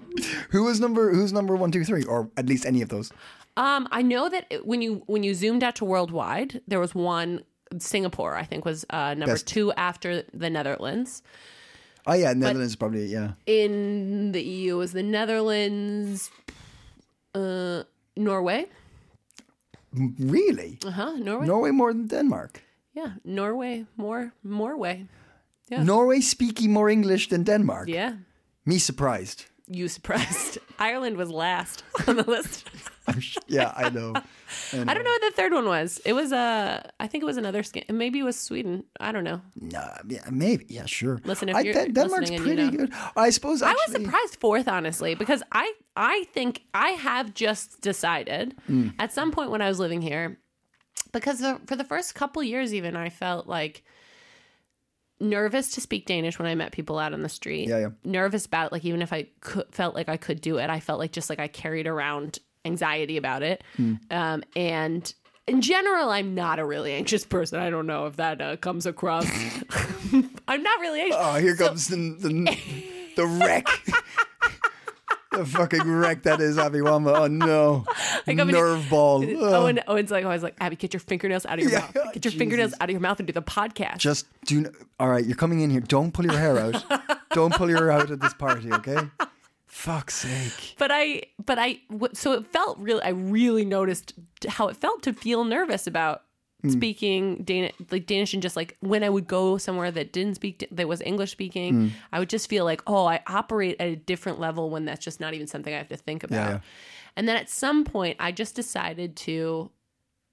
Speaker 2: Who was number? Who's number one, two, three, or at least any of those?
Speaker 1: Um, I know that it- when you when you zoomed out to worldwide, there was one Singapore. I think was uh, number
Speaker 2: Best.
Speaker 1: two after the Netherlands.
Speaker 2: Oh yeah, Netherlands probably. Yeah,
Speaker 1: In the EU was the Netherlands, uh, Norway.
Speaker 2: really?
Speaker 1: Uh huh. Norway.
Speaker 2: Norway more than Denmark.
Speaker 1: yeah, Norway. More Norway. Yeah.
Speaker 2: Norway speaking more English than Denmark.
Speaker 1: Yeah.
Speaker 2: Me surprised.
Speaker 1: You suppressed. Ireland was last on the list.
Speaker 2: Yeah, I know.
Speaker 1: I don't know what the third one was. It was uh, I think it was another skin. Maybe it was Sweden. I don't know.
Speaker 2: no, yeah, maybe. Yeah, sure.
Speaker 1: Listen, if
Speaker 2: I,
Speaker 1: you're
Speaker 2: Den- Denmark's
Speaker 1: listening and you
Speaker 2: pretty
Speaker 1: know.
Speaker 2: good. I suppose
Speaker 1: I was
Speaker 2: actually,
Speaker 1: surprised fourth, honestly, because I I think I have just decided
Speaker 2: Mm.
Speaker 1: at some point when I was living here, because the, for the first couple years, even I felt like nervous to speak Danish when I met people out on the street.
Speaker 2: Yeah, yeah.
Speaker 1: Nervous about like even if I could, felt like I could do it, I felt like just like I carried around anxiety about it.
Speaker 2: Hmm.
Speaker 1: Um, and in general, I'm not a really anxious person. I don't know if that uh, comes across. I'm not really anxious.
Speaker 2: Oh, here comes the the, the wreck. the fucking wreck that is Abby Wamba. Oh no,
Speaker 1: Like, I mean,
Speaker 2: nerve ball. Oh.
Speaker 1: Owen, Owen's like always like, Abby, get your fingernails out of your
Speaker 2: Yeah,
Speaker 1: mouth. Get your fingernails out of your mouth and do the podcast.
Speaker 2: Just do. n- All right, you're coming in here. Don't pull your hair out. Don't pull your hair out at this party, okay? Fuck's sake.
Speaker 1: but I, but I, w- so it felt really, I really noticed how it felt to feel nervous about
Speaker 2: Hmm.
Speaker 1: speaking Danish, like Danish, and just like when I would go somewhere that didn't speak, Da- that was English speaking,
Speaker 2: Hmm.
Speaker 1: I would just feel like, oh, I operate at a different level when that's just not even something I have to think about.
Speaker 2: yeah.
Speaker 1: And then at some point, I just decided to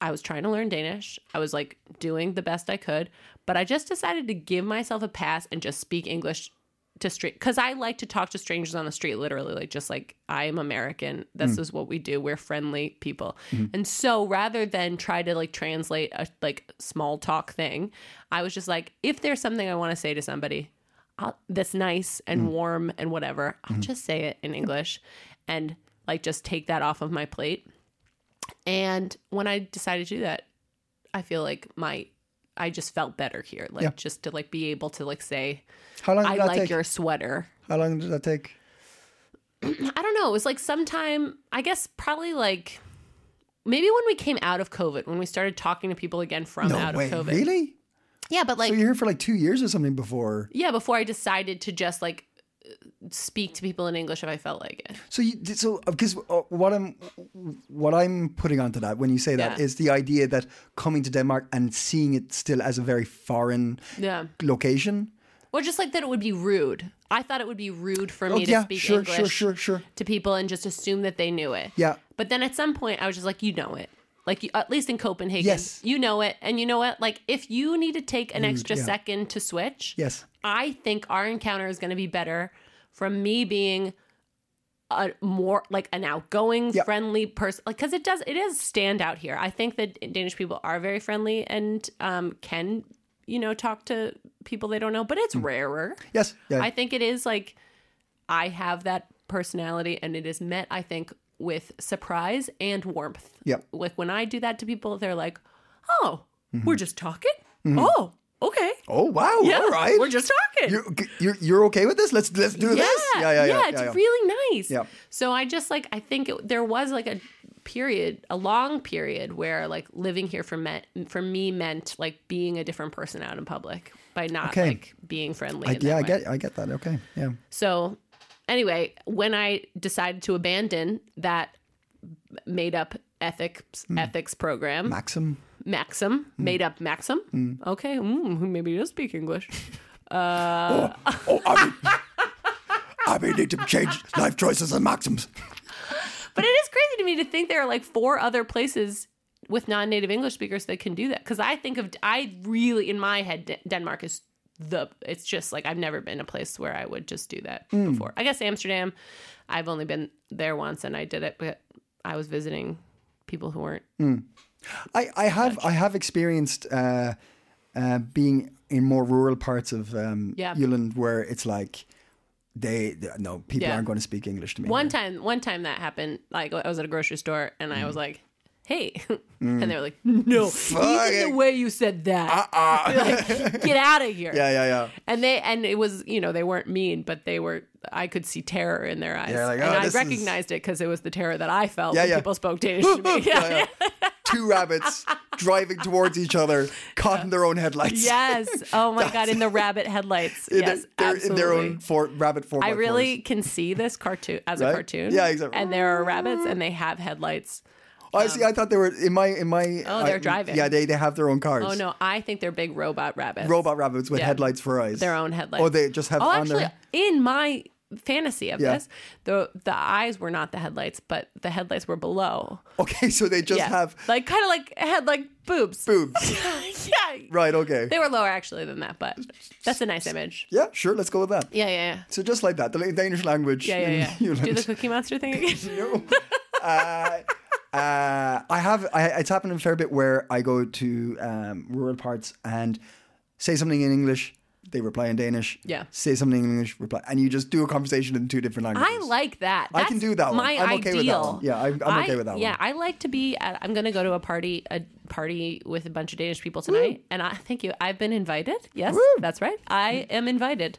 Speaker 1: I was trying to learn Danish. I was like doing the best I could, but I just decided to give myself a pass and just speak English to street because I like to talk to strangers on the street, literally, like just like I am American. This is what we do. We're friendly people, and so rather than try to like translate a like small talk thing, I was just like, if there's something I want to say to somebody, I'll, that's nice and warm and whatever, I'll just say it in English, and like just take that off of my plate. And when I decided to do that, I feel like my I just felt better here. Like
Speaker 2: Yeah.
Speaker 1: just to like be able to like say,
Speaker 2: How long did
Speaker 1: I
Speaker 2: that
Speaker 1: like
Speaker 2: take?
Speaker 1: your sweater.
Speaker 2: How long did that take?
Speaker 1: I don't know. It was like sometime I guess probably like maybe when we came out of COVID, when we started talking to people again from
Speaker 2: No
Speaker 1: out
Speaker 2: way.
Speaker 1: of COVID.
Speaker 2: Really?
Speaker 1: Yeah, but like
Speaker 2: so you're here for like two years or something before.
Speaker 1: yeah, before I decided to just like speak to people in English if I felt like it.
Speaker 2: So you did- so because uh, what I'm what I'm putting onto that when you say that is
Speaker 1: Yeah.
Speaker 2: the idea that coming to Denmark and seeing it still as a very foreign
Speaker 1: Yeah.
Speaker 2: location.
Speaker 1: Or just like that it would be rude. I thought it would be rude for me
Speaker 2: Oh
Speaker 1: to
Speaker 2: yeah,
Speaker 1: speak
Speaker 2: sure,
Speaker 1: English
Speaker 2: sure, sure, sure.
Speaker 1: to people and just assume that they knew it.
Speaker 2: Yeah.
Speaker 1: But then at some point, I was just like, you know it. Like, you, at least in Copenhagen,
Speaker 2: Yes.
Speaker 1: you know it. And you know what? Like, if you need to take an extra
Speaker 2: yeah.
Speaker 1: second to switch,
Speaker 2: Yes.
Speaker 1: I think our encounter is going to be better from me being a more like an outgoing,
Speaker 2: Yeah.
Speaker 1: friendly person. Like, because it does, it is stand out here. I think that Danish people are very friendly and um, can, you know, talk to people they don't know, but it's rarer.
Speaker 2: Yes. Hmm. Yeah.
Speaker 1: I think it is like I have that personality and it is met, I think, with surprise and warmth.
Speaker 2: Yeah.
Speaker 1: Like when I do that to people, they're like, oh, we're just talking? Oh, okay.
Speaker 2: oh wow.
Speaker 1: Yeah,
Speaker 2: Mm-hmm. All right.
Speaker 1: we're just talking.
Speaker 2: You're, you're you're okay with this? Let's let's do this. Yeah. Yeah. Yeah.
Speaker 1: it's
Speaker 2: yeah, yeah.
Speaker 1: really nice.
Speaker 2: Yeah.
Speaker 1: So I just like I think it, there was like a period, a long period where like living here for me for me meant like being a different person out in public by not
Speaker 2: Okay.
Speaker 1: like being friendly.
Speaker 2: I,
Speaker 1: in that
Speaker 2: yeah. I
Speaker 1: way.
Speaker 2: get I get that. Okay. Yeah.
Speaker 1: So, anyway, when I decided to abandon that made up ethics
Speaker 2: Hmm.
Speaker 1: ethics program,
Speaker 2: Maxim.
Speaker 1: Maxim
Speaker 2: Hmm.
Speaker 1: made up Maxim. Okay, mm, maybe he does speak English.
Speaker 2: Oh, I mean, I mean, need to change life choices and maxims.
Speaker 1: But it is crazy to me to think there are like four other places with non-native English speakers that can do that. Because I think of I really in my head Den- Denmark is the it's just like I've never been a place where I would just do that before. I guess Amsterdam. I've only been there once and I did it, but I was visiting people who weren't
Speaker 2: I, I have I have experienced uh, uh, being in more rural parts of um,
Speaker 1: Yeah.
Speaker 2: Ireland where it's like they they- no people
Speaker 1: Yeah.
Speaker 2: aren't going to speak English to me.
Speaker 1: One time, one time that happened. Like I was at a grocery store and I was like, "Hey," and they were like, "No, even
Speaker 2: Fucking-
Speaker 1: the way you said that, like, get out of here."
Speaker 2: yeah, yeah, yeah.
Speaker 1: And they and it was you know they weren't mean, but they were. I could see terror in their eyes,
Speaker 2: Yeah, like,
Speaker 1: and
Speaker 2: "Oh,
Speaker 1: I
Speaker 2: this is-"
Speaker 1: recognized it because it was the terror that I felt
Speaker 2: Yeah,
Speaker 1: when
Speaker 2: yeah.
Speaker 1: people spoke Danish to me. Yeah, yeah.
Speaker 2: Two rabbits driving towards each other, caught in their own headlights.
Speaker 1: Yes. Oh my god! In the rabbit headlights.
Speaker 2: in,
Speaker 1: yes.
Speaker 2: their, in
Speaker 1: absolutely.
Speaker 2: their own for, rabbit form.
Speaker 1: I really can see this cartoon as
Speaker 2: Right?
Speaker 1: a cartoon.
Speaker 2: Yeah, exactly.
Speaker 1: And there are rabbits, and they have headlights.
Speaker 2: Oh, I see. I thought they were in my in my.
Speaker 1: um, Oh, they're
Speaker 2: I-
Speaker 1: driving.
Speaker 2: Yeah, they, they have their own cars.
Speaker 1: Oh no, I think they're big robot rabbits.
Speaker 2: Robot rabbits with
Speaker 1: Yeah.
Speaker 2: headlights for eyes.
Speaker 1: Their own headlights.
Speaker 2: Or they just have
Speaker 1: Oh,
Speaker 2: on
Speaker 1: actually,
Speaker 2: their.
Speaker 1: in my fantasy of
Speaker 2: Yeah.
Speaker 1: this, the the eyes were not the headlights, but the headlights were below.
Speaker 2: Okay, so they just
Speaker 1: yeah,
Speaker 2: have
Speaker 1: like kind of like had like boobs.
Speaker 2: boobs.
Speaker 1: yeah.
Speaker 2: right. Okay.
Speaker 1: They were lower actually than that, but that's a nice image.
Speaker 2: yeah. Sure. Let's go with that.
Speaker 1: Yeah, yeah, yeah.
Speaker 2: So just like that, the Danish language.
Speaker 1: Yeah,
Speaker 2: in
Speaker 1: yeah, yeah.
Speaker 2: Newland.
Speaker 1: Do the Cookie Monster thing again.
Speaker 2: no. Uh, uh, I have. I, it's happened a fair bit where I go to um, rural parts and say something in English. They reply in Danish.
Speaker 1: Yeah.
Speaker 2: Say something in English. Reply, and you just do a conversation in two different languages.
Speaker 1: I like that.
Speaker 2: I can
Speaker 1: That's
Speaker 2: do that one.
Speaker 1: My
Speaker 2: I'm okay
Speaker 1: ideal.
Speaker 2: with that one. Yeah, I'm- I'm okay with that one.
Speaker 1: Yeah, I like to be. At, I'm going to go to a party, a party with a bunch of Danish people tonight, and I thank you. I've been invited. Yes, that's right. I am invited.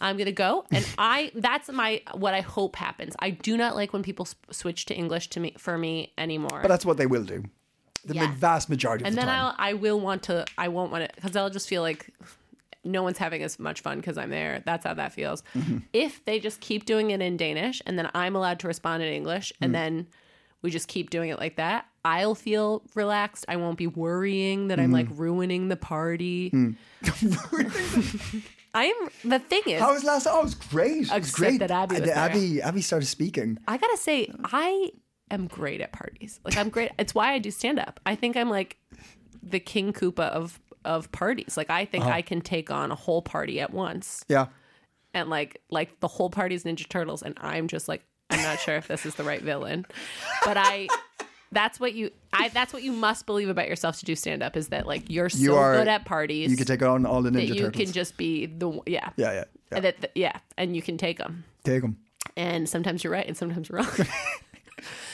Speaker 1: I'm going to go, and I. That's my what I hope happens. I do not like when people s- switch to English to me for me anymore.
Speaker 2: But that's what they will do. The
Speaker 1: Yeah.
Speaker 2: vast majority of
Speaker 1: and
Speaker 2: the
Speaker 1: then
Speaker 2: time.
Speaker 1: I'll, I will want to. I won't want to because I'll just feel like no one's having as much fun because I'm there. That's how that feels.
Speaker 2: Mm-hmm.
Speaker 1: If they just keep doing it in Danish and then I'm allowed to respond in English
Speaker 2: Mm.
Speaker 1: and then we just keep doing it like that, I'll feel relaxed. I won't be worrying that I'm
Speaker 2: Mm-hmm.
Speaker 1: like ruining the party.
Speaker 2: Mm.
Speaker 1: I am. The thing is,
Speaker 2: How was last? Oh, it was great. It was
Speaker 1: Except
Speaker 2: great.
Speaker 1: that Abby
Speaker 2: Uh,
Speaker 1: was
Speaker 2: the
Speaker 1: there.
Speaker 2: Abby, Abby started speaking.
Speaker 1: I gotta say, I am great at parties. Like I'm great. It's why I do stand up. I think I'm like the King Koopa of of parties. Like I
Speaker 2: Uh-huh.
Speaker 1: think I can take on a whole party at once,
Speaker 2: Yeah.
Speaker 1: and like like the whole party's Ninja Turtles, and I'm just like I'm not sure if this is the right villain, but I. That's what you. I. That's what you must believe about yourself to do stand up is that like you're so
Speaker 2: You are-
Speaker 1: good at parties
Speaker 2: You could take on all the
Speaker 1: that
Speaker 2: Ninja
Speaker 1: you
Speaker 2: Turtles.
Speaker 1: can just be the one- yeah
Speaker 2: yeah, yeah. yeah.
Speaker 1: And that, that- yeah and you can take them
Speaker 2: Take them.
Speaker 1: and sometimes you're right and sometimes you're wrong.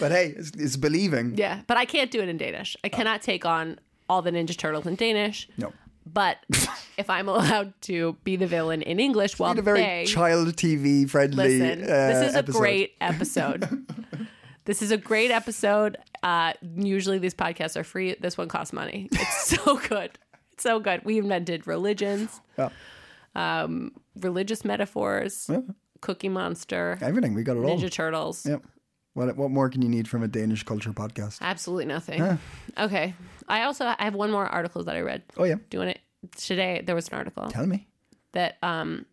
Speaker 2: But hey, it's, it's believing.
Speaker 1: Yeah, but I can't do it in Danish. I cannot take on all the Ninja Turtles in Danish.
Speaker 2: Oh. No.
Speaker 1: But if I'm allowed to be the villain in English while
Speaker 2: It's a very
Speaker 1: they
Speaker 2: child TV friendly.
Speaker 1: listen,
Speaker 2: uh,
Speaker 1: this is a
Speaker 2: episode.
Speaker 1: great episode. this is a great episode. Uh, usually these podcasts are free. This one costs money. It's so good. It's so good. We invented religions,
Speaker 2: Yeah.
Speaker 1: um, religious metaphors, Cookie Monster,
Speaker 2: Everything we got it all.
Speaker 1: Ninja Turtles.
Speaker 2: Yep. What what more can you need from a Danish culture podcast?
Speaker 1: Absolutely nothing. Okay. I also I have one more article that I read.
Speaker 2: Oh yeah,
Speaker 1: doing it today there was an article
Speaker 2: tell me.
Speaker 1: that um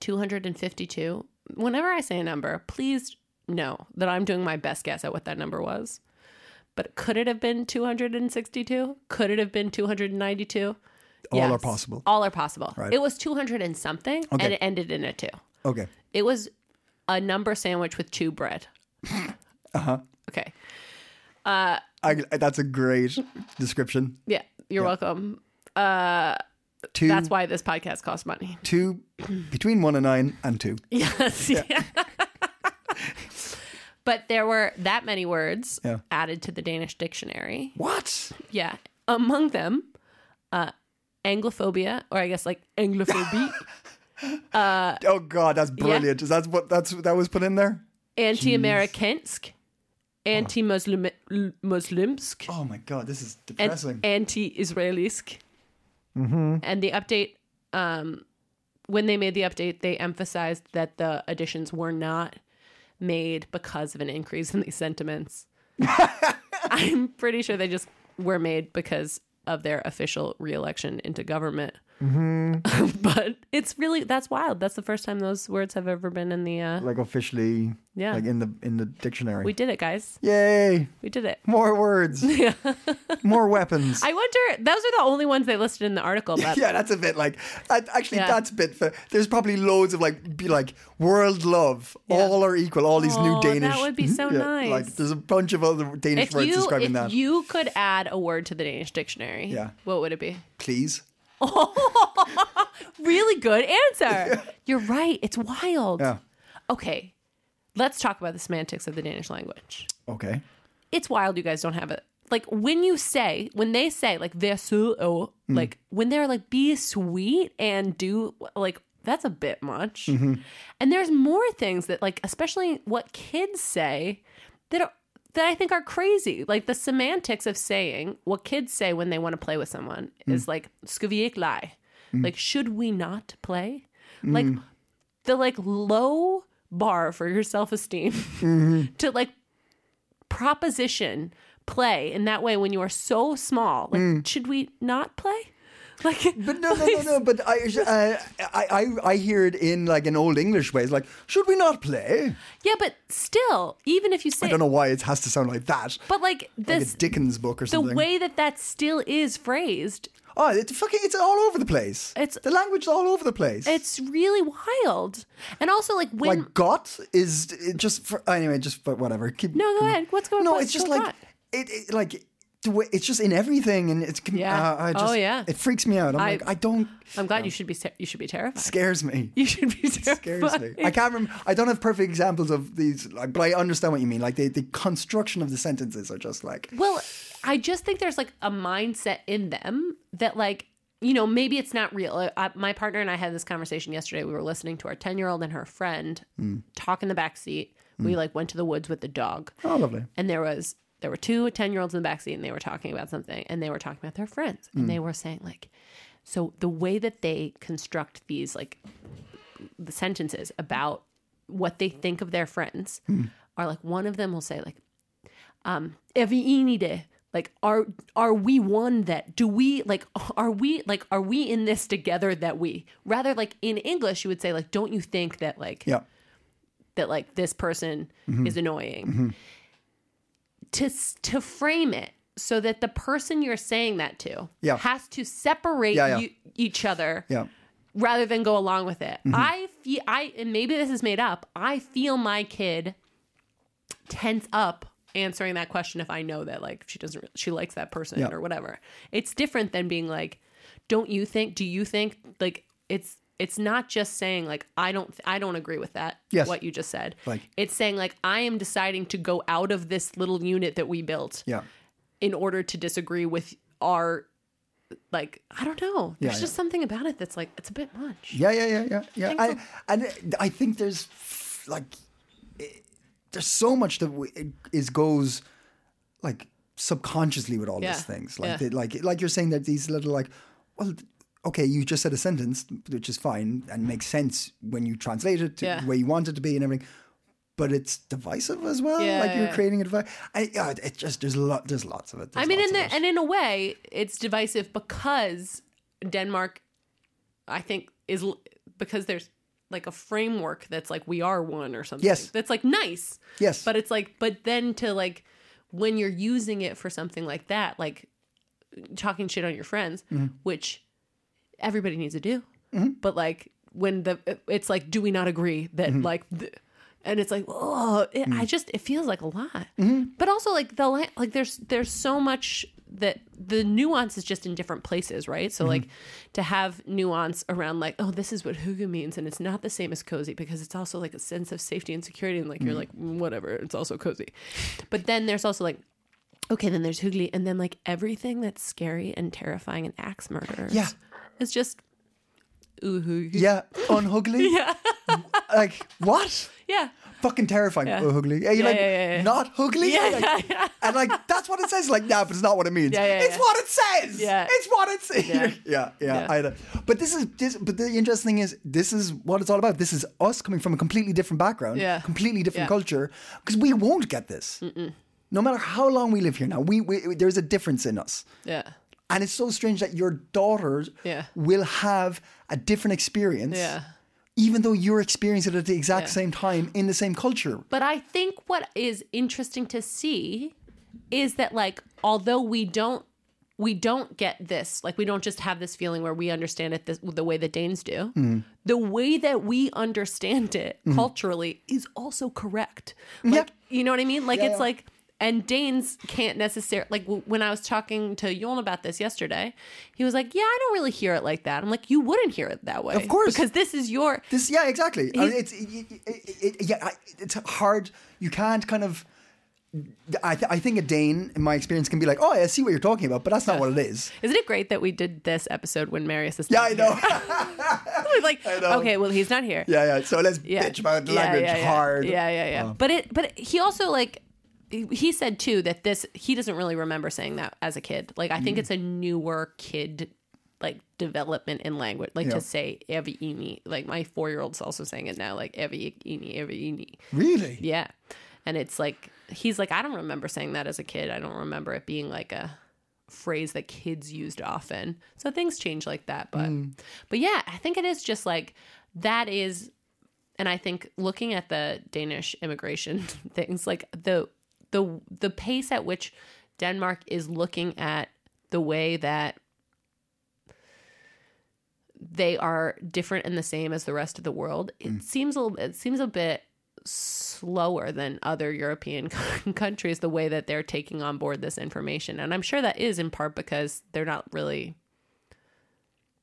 Speaker 1: 252 whenever i say a number please know that i'm doing my best guess at what that number was but could it have been 262 could it have been 292
Speaker 2: All are possible.
Speaker 1: all are possible
Speaker 2: Right.
Speaker 1: it was 200 and something and
Speaker 2: Okay.
Speaker 1: it ended in a 2
Speaker 2: Okay.
Speaker 1: it was a number sandwich with two bread uh-huh okay
Speaker 2: I, that's a great description.
Speaker 1: yeah you're welcome
Speaker 2: Two,
Speaker 1: that's why this podcast costs money
Speaker 2: two between one and nine and two.
Speaker 1: Yes. Yeah. but there were that many words
Speaker 2: Yeah.
Speaker 1: added to the Danish dictionary.
Speaker 2: What?
Speaker 1: Yeah. Among them, uh, Anglophobia, or I guess like Anglophobie, Uh,
Speaker 2: Oh God, that's brilliant. Is that what that's that was put in there?
Speaker 1: anti-Amerikansk, anti-Muslimsk,
Speaker 2: Oh my God, this is depressing.
Speaker 1: and anti-Israelisk. And the update, um, when they made the update, they emphasized that the additions were not made because of an increase in these sentiments. I'm pretty sure they just were made because of their official reelection into government. but it's really that's wild. That's the first time those words have ever been in the. Uh,
Speaker 2: like officially,
Speaker 1: Yeah.
Speaker 2: Like in the in the dictionary.
Speaker 1: we did it, guys.
Speaker 2: Yay!
Speaker 1: We did it.
Speaker 2: More words. More weapons.
Speaker 1: I wonder. Those are the only ones they listed in the article. But
Speaker 2: yeah, that's a bit like. I, actually,
Speaker 1: Yeah.
Speaker 2: that's a bit. Fair. There's probably loads of like, be like world love. All are equal. All these new
Speaker 1: Oh, that
Speaker 2: Danish.
Speaker 1: would be so nice.
Speaker 2: Like, there's a bunch of other Danish
Speaker 1: if
Speaker 2: words
Speaker 1: you
Speaker 2: describing
Speaker 1: if
Speaker 2: that.
Speaker 1: you could add a word to the Danish dictionary,
Speaker 2: Yeah.
Speaker 1: what would it be?
Speaker 2: Please.
Speaker 1: Really good answer. You're right. It's wild.
Speaker 2: Yeah.
Speaker 1: Okay, let's talk about the semantics of the Danish language.
Speaker 2: Okay.
Speaker 1: It's wild. You guys don't have it. Like when you say, when they say, like they're so, oh,
Speaker 2: Mm-hmm.
Speaker 1: like when they're like be sweet and do like that's a bit much.
Speaker 2: Mm-hmm.
Speaker 1: And there's more things that like, especially what kids say that are. That I think are crazy. Like the semantics of saying what kids say when they want to play with someone
Speaker 2: Mm.
Speaker 1: is like "skuviek lie," like "should we not play?"
Speaker 2: Mm.
Speaker 1: Like
Speaker 2: Mm-hmm.
Speaker 1: the like low bar for your self esteem to like proposition play in that way when you are so small? Like, should we not play? Like,
Speaker 2: Mm. But no, no, no, no. But I, uh, I, I, I hear it in like an old English way. It's like, should we not play?
Speaker 1: yeah, but still, even if you say,
Speaker 2: I don't know why it has to sound like that.
Speaker 1: but like
Speaker 2: like
Speaker 1: this,
Speaker 2: a Dickens book or
Speaker 1: the
Speaker 2: something.
Speaker 1: way that that still is phrased,
Speaker 2: oh, it's fucking, it's all over the place.
Speaker 1: It's-
Speaker 2: the language is all over the place.
Speaker 1: it's really wild. And also, like when
Speaker 2: like got is it just for, anyway, just but whatever. Keep,
Speaker 1: No, go ahead. What's going-
Speaker 2: No,
Speaker 1: what's
Speaker 2: it's just
Speaker 1: going
Speaker 2: like it, it, like the way it's just in everything, and it's con-
Speaker 1: Yeah.
Speaker 2: uh, I
Speaker 1: Oh,
Speaker 2: just,
Speaker 1: yeah.
Speaker 2: It freaks me out. I'm
Speaker 1: I-
Speaker 2: like, I don't
Speaker 1: I'm glad you should be ter- you should be terrified.
Speaker 2: scares me.
Speaker 1: You should be
Speaker 2: It scares me. I can't remember. I don't have perfect examples of these, like, but I understand what you mean. Like the, the construction of the sentences are just like
Speaker 1: Well, I just think there's like a mindset in them that like you know maybe it's not real. I, I- my partner and I had this conversation yesterday. We were listening to our ten year old and her friend
Speaker 2: Hmm.
Speaker 1: talk in the back seat. We like went to the woods with the dog.
Speaker 2: oh lovely.
Speaker 1: and there was there were two 10 year olds in the backseat and they were talking about something and they were talking about their friends and they were saying like so the way that they construct these like the sentences about what they think of their friends are like one of them will say like um evini like are are we one that do we like are we like are we in this together that we rather like in english you would say like don't you think that like
Speaker 2: Yeah,
Speaker 1: that like this person
Speaker 2: Mm-hmm.
Speaker 1: is annoying to s- to frame it so that the person you're saying that to
Speaker 2: Yeah.
Speaker 1: has to separate
Speaker 2: Yeah, yeah.
Speaker 1: You, each other
Speaker 2: yeah.
Speaker 1: rather than go along with it
Speaker 2: Mm-hmm.
Speaker 1: i feel i and maybe this is made up i feel my kid tense up answering that question if i know that like she doesn't re- she likes that person
Speaker 2: Yeah.
Speaker 1: or whatever it's different than being like don't you think do you think like it's it's not just saying like i don't i don't agree with that
Speaker 2: Yes.
Speaker 1: what you just said
Speaker 2: Like-
Speaker 1: it's saying like i am deciding to go out of this little unit that we built
Speaker 2: Yeah.
Speaker 1: in order to disagree with our like i don't know there's
Speaker 2: yeah.
Speaker 1: just something about it that's like it's a bit much
Speaker 2: Yeah, yeah, yeah, yeah, yeah.
Speaker 1: Think
Speaker 2: I,
Speaker 1: so.
Speaker 2: and I think there's f- like it- there's so much that w- is goes like subconsciously with all these
Speaker 1: Yeah,
Speaker 2: things. Like,
Speaker 1: yeah.
Speaker 2: the, like, like you're saying that these little like, well, okay, you just said a sentence which is fine and makes sense when you translate it to
Speaker 1: Yeah.
Speaker 2: the way you want it to be and everything. But it's divisive as well.
Speaker 1: Yeah,
Speaker 2: like you're
Speaker 1: yeah.
Speaker 2: creating a divide. I, yeah, it just there's a lot. There's lots of it.
Speaker 1: I
Speaker 2: There's
Speaker 1: mean,
Speaker 2: lots
Speaker 1: in
Speaker 2: of
Speaker 1: the,
Speaker 2: it.
Speaker 1: and in a way, it's divisive because Denmark, I think, is l- because there's like a framework that's like we are one or something.
Speaker 2: Yes.
Speaker 1: that's like nice.
Speaker 2: Yes.
Speaker 1: but it's like, but then to like when you're using it for something like that, like talking shit on your friends,
Speaker 2: Mm-hmm.
Speaker 1: which everybody needs to do. But like when the it's like, do we not agree that like, th- and it's like, oh, it, I just it feels like a lot. But also like the la- like there's there's so much that the nuance is just in different places, right? So like to have nuance around like, oh, this is what hugu means, and it's not the same as cozy because it's also like a sense of safety and security, and like you're like "Mm, whatever, it's also cozy. But then there's also like okay, then there's Hoogly, and then like everything that's scary and terrifying and axe murderers.
Speaker 2: Yeah.
Speaker 1: It's just ooh Hoogly.
Speaker 2: yeah, unhugly. yeah, like what?
Speaker 1: Yeah.
Speaker 2: fucking terrifying. Oh, Hoogly. Yeah, you're like,
Speaker 1: yeah, yeah, yeah.
Speaker 2: not Hoogly? Like, And like, that's what it says. Like, nah, but it's not what it means.
Speaker 1: Yeah, yeah,
Speaker 2: it's
Speaker 1: yeah.
Speaker 2: what it says.
Speaker 1: Yeah.
Speaker 2: It's what it says. Yeah,
Speaker 1: Yeah.
Speaker 2: yeah.
Speaker 1: Yeah.
Speaker 2: I know. But this is, this, but the interesting thing is, this is what it's all about. This is us coming from a completely different background,
Speaker 1: Yeah.
Speaker 2: completely different
Speaker 1: Yeah.
Speaker 2: culture, because we won't get this. No matter how long we live here now, we, we there's a difference in us.
Speaker 1: Yeah.
Speaker 2: And it's so strange that your daughters
Speaker 1: Yeah.
Speaker 2: will have a different experience.
Speaker 1: Yeah.
Speaker 2: Even though you're experiencing it at the exact
Speaker 1: Yeah.
Speaker 2: same time in the same culture.
Speaker 1: But I think what is interesting to see is that like although we don't we don't get this like we don't just have this feeling where we understand it this, the way that Danes do.
Speaker 2: Mm-hmm.
Speaker 1: The way that we understand it culturally is also correct. Like you know what I mean? Like it's
Speaker 2: yeah.
Speaker 1: like and Danes can't necessarily like w- when I was talking to Yon about this yesterday, he was like, "Yeah, I don't really hear it like that." I'm like, "You wouldn't hear it that way,
Speaker 2: Of course.
Speaker 1: because this is your
Speaker 2: This, yeah, exactly. I mean, it's it, it, it, yeah, I- it's hard. You can't kind of. I, th- I think a Dane, in my experience, can be like, "Oh, I see what you're talking about," but that's not what it is.
Speaker 1: Isn't it great that we did this episode when Marius is
Speaker 2: Yeah,
Speaker 1: not
Speaker 2: I know.
Speaker 1: here? We're like,
Speaker 2: know.
Speaker 1: okay, well, he's not here.
Speaker 2: yeah, yeah. So let's bitch about
Speaker 1: Yeah,
Speaker 2: language
Speaker 1: yeah, yeah.
Speaker 2: hard. Oh.
Speaker 1: Yeah, yeah, yeah. But it, but he also like, he- he said too that this he doesn't really remember saying that as a kid. Like I think
Speaker 2: Mm.
Speaker 1: it's a newer kid like development in language, like
Speaker 2: Yeah.
Speaker 1: to say every ini. Like my four year old's also saying it now, like every ini, every ini.
Speaker 2: Really?
Speaker 1: Yeah. And it's like he's like, I don't remember saying that as a kid. I don't remember it being like a phrase that kids used often. So things change like that. But but yeah, I think it is just like that is and I think looking at the Danish immigration things, like the the the pace at which Denmark is looking at the way that they are different and the same as the rest of the world, it seems a little, it seems a bit slower than other European countries the way that they're taking on board this information, and I'm sure that is in part because they're not really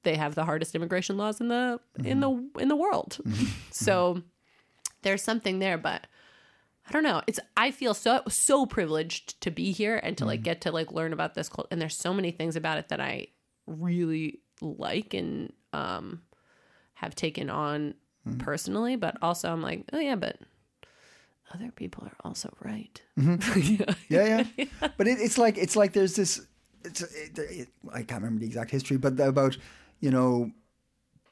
Speaker 1: they have the hardest immigration laws in the in the in the world. so there's something there, but I don't know. It's I feel so so privileged to be here and to like get to like learn about this culture. And there's so many things about it that I really like and um have taken on personally. But also, I'm like, oh yeah, but other people are also right.
Speaker 2: Mm-hmm. yeah, yeah. But it, it's like it's like there's this. It's, it, it, I can't remember the exact history, but about you know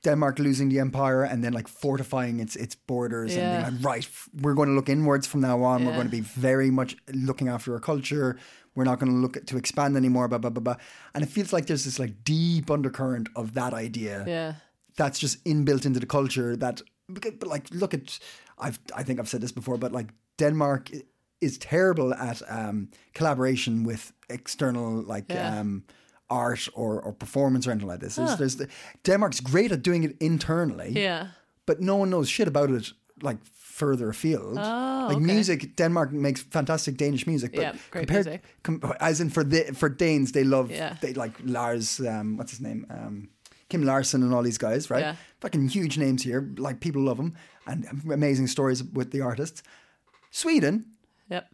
Speaker 2: Denmark losing the empire and then like fortifying its its borders and being
Speaker 1: Yeah.
Speaker 2: like, right, f- we're going to look inwards from now on. We're
Speaker 1: Yeah.
Speaker 2: going to be very much looking after our culture. We're not going to look at, to expand anymore. Blah blah blah blah. And it feels like there's this like deep undercurrent of that idea
Speaker 1: Yeah.
Speaker 2: that's just inbuilt into the culture that because- but like look at I've I think I've said this before but like Denmark i- is terrible at um, collaboration with external like
Speaker 1: Yeah.
Speaker 2: um, art or, or performance or anything like this. There's, there's the, Denmark's great at doing it internally,
Speaker 1: Yeah.
Speaker 2: but no one knows shit about it like further afield.
Speaker 1: Oh,
Speaker 2: like
Speaker 1: okay.
Speaker 2: music, Denmark makes fantastic Danish music, but
Speaker 1: Yeah, great music.
Speaker 2: com- as in for the for Danes, they love
Speaker 1: Yeah.
Speaker 2: they like Lars, um, what's his name, um, Kim Larson, and all these guys, right?
Speaker 1: Yeah.
Speaker 2: Fucking huge names here. Like people love them, and amazing stories with the artists. Sweden,
Speaker 1: Yep.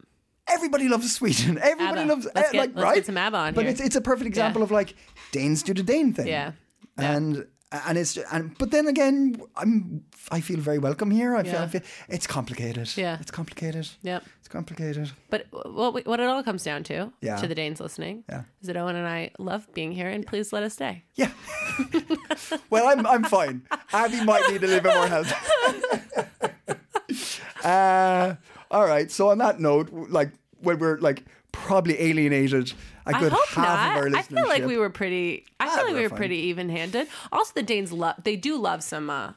Speaker 2: Everybody loves Sweden. Everybody
Speaker 1: ABBA.
Speaker 2: loves
Speaker 1: Let's
Speaker 2: eh,
Speaker 1: get-
Speaker 2: like
Speaker 1: let's
Speaker 2: right.
Speaker 1: get some ABBA on
Speaker 2: but
Speaker 1: here.
Speaker 2: it's it's a perfect example of like Danes do the Dane thing.
Speaker 1: Yeah. Yeah.
Speaker 2: and and it's and but then again, I'm I feel very welcome here. I, feel, I
Speaker 1: Yeah.
Speaker 2: feel it's complicated.
Speaker 1: Yeah.
Speaker 2: it's complicated.
Speaker 1: Yep.
Speaker 2: it's complicated.
Speaker 1: But what we, what it all comes down to,
Speaker 2: Yeah.
Speaker 1: to the Danes listening,
Speaker 2: Yeah.
Speaker 1: is that Owen and I love being here, and please let us stay.
Speaker 2: Yeah. well, I'm I'm fine. Abby might need a little bit more help. uh, all right. So on that note, like when we're like probably alienated a
Speaker 1: I
Speaker 2: good
Speaker 1: hope
Speaker 2: half of our
Speaker 1: not.
Speaker 2: listeners.
Speaker 1: I feel like we were pretty. I feel like
Speaker 2: we're
Speaker 1: we were
Speaker 2: fine.
Speaker 1: pretty even-handed. Also, the Danes love. They do love some. Uh,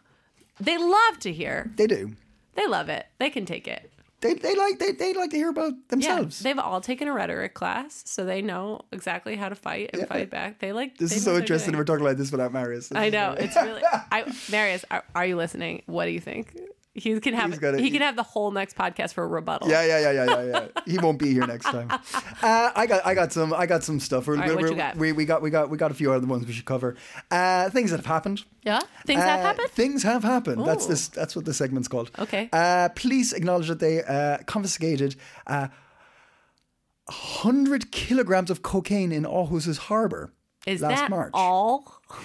Speaker 1: they love to hear.
Speaker 2: They do.
Speaker 1: They love it. They can take it.
Speaker 2: They, they like they, they like to hear about
Speaker 1: Yeah,
Speaker 2: themselves.
Speaker 1: they've all taken a rhetoric class, so they know exactly how to fight and fight back. They like.
Speaker 2: this
Speaker 1: they
Speaker 2: is
Speaker 1: know
Speaker 2: so
Speaker 1: what they're
Speaker 2: interesting.
Speaker 1: doing.
Speaker 2: We're talking about this without Marius. This
Speaker 1: I
Speaker 2: is
Speaker 1: know
Speaker 2: really-
Speaker 1: it's really. I Marius, are, are you listening? What do you think? He can have.
Speaker 2: He's gotta-
Speaker 1: he can have the whole next podcast for a rebuttal.
Speaker 2: Yeah, yeah, yeah, yeah, yeah, yeah. He won't be here next time. Uh, I got, I got some, I got some stuff. We're,
Speaker 1: right,
Speaker 2: we're-
Speaker 1: what you
Speaker 2: we're-
Speaker 1: got?
Speaker 2: We, we got, we got, we got a few other ones we should cover. Uh, things that have happened.
Speaker 1: Yeah? Things have
Speaker 2: Uh,
Speaker 1: happened?
Speaker 2: Things have happened. That's
Speaker 1: Ooh.
Speaker 2: this. That's what the segment's called.
Speaker 1: Okay.
Speaker 2: Uh, police acknowledge that they uh, confiscated uh, hundred kilograms of cocaine in Aarhus's harbour
Speaker 1: Is
Speaker 2: last
Speaker 1: that
Speaker 2: March.
Speaker 1: all?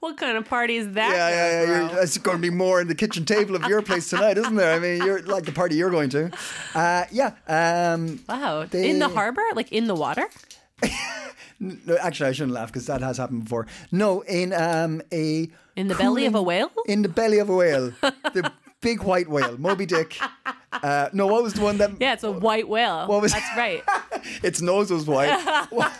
Speaker 1: what kind of party is that?
Speaker 2: Yeah, yeah, yeah.
Speaker 1: gonna
Speaker 2: You're, it's going to be more in the kitchen table of your place tonight, isn't there? I mean, you're like the party you're going to. Uh, yeah. Um,
Speaker 1: throw? Wow.
Speaker 2: They-
Speaker 1: In the harbor? Like in the water?
Speaker 2: no, actually, I shouldn't laugh because that has happened before. No, in um, a
Speaker 1: In the belly of a whale?
Speaker 2: in the belly of a whale, the big white whale, Moby Dick. Uh, no, what was the one that?
Speaker 1: Yeah, it's a white whale.
Speaker 2: What was-
Speaker 1: That's right.
Speaker 2: Its nose was white. what,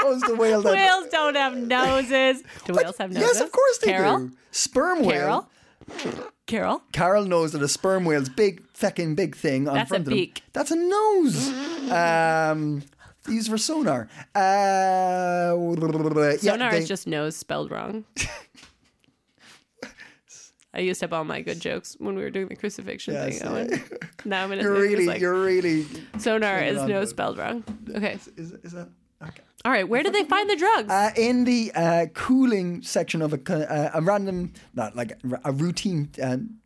Speaker 2: what was the whale that?
Speaker 1: Whales don't have noses. Do
Speaker 2: What?
Speaker 1: whales have noses?
Speaker 2: Yes, of course they
Speaker 1: Carol?
Speaker 2: do. Sperm whale.
Speaker 1: Carol? Carol?
Speaker 2: Carol knows that a sperm whale's big fucking big thing on
Speaker 1: That's a
Speaker 2: front of them.
Speaker 1: beak.
Speaker 2: That's a nose. um, these for sonar. Uh,
Speaker 1: Sonar
Speaker 2: yeah, they-
Speaker 1: is just nose spelled wrong. I used up all my good jokes when we were doing the crucifixion
Speaker 2: Yes,
Speaker 1: thing, Owen. Now I'm gonna
Speaker 2: You're
Speaker 1: think it's
Speaker 2: really,
Speaker 1: like,
Speaker 2: you're really.
Speaker 1: sonar is
Speaker 2: on,
Speaker 1: no
Speaker 2: though.
Speaker 1: spelled wrong. Okay.
Speaker 2: Is, is that okay?
Speaker 1: All right, where did they find the drugs?
Speaker 2: Uh, in the uh, cooling section of a co- uh, a random, not like a- a routine um,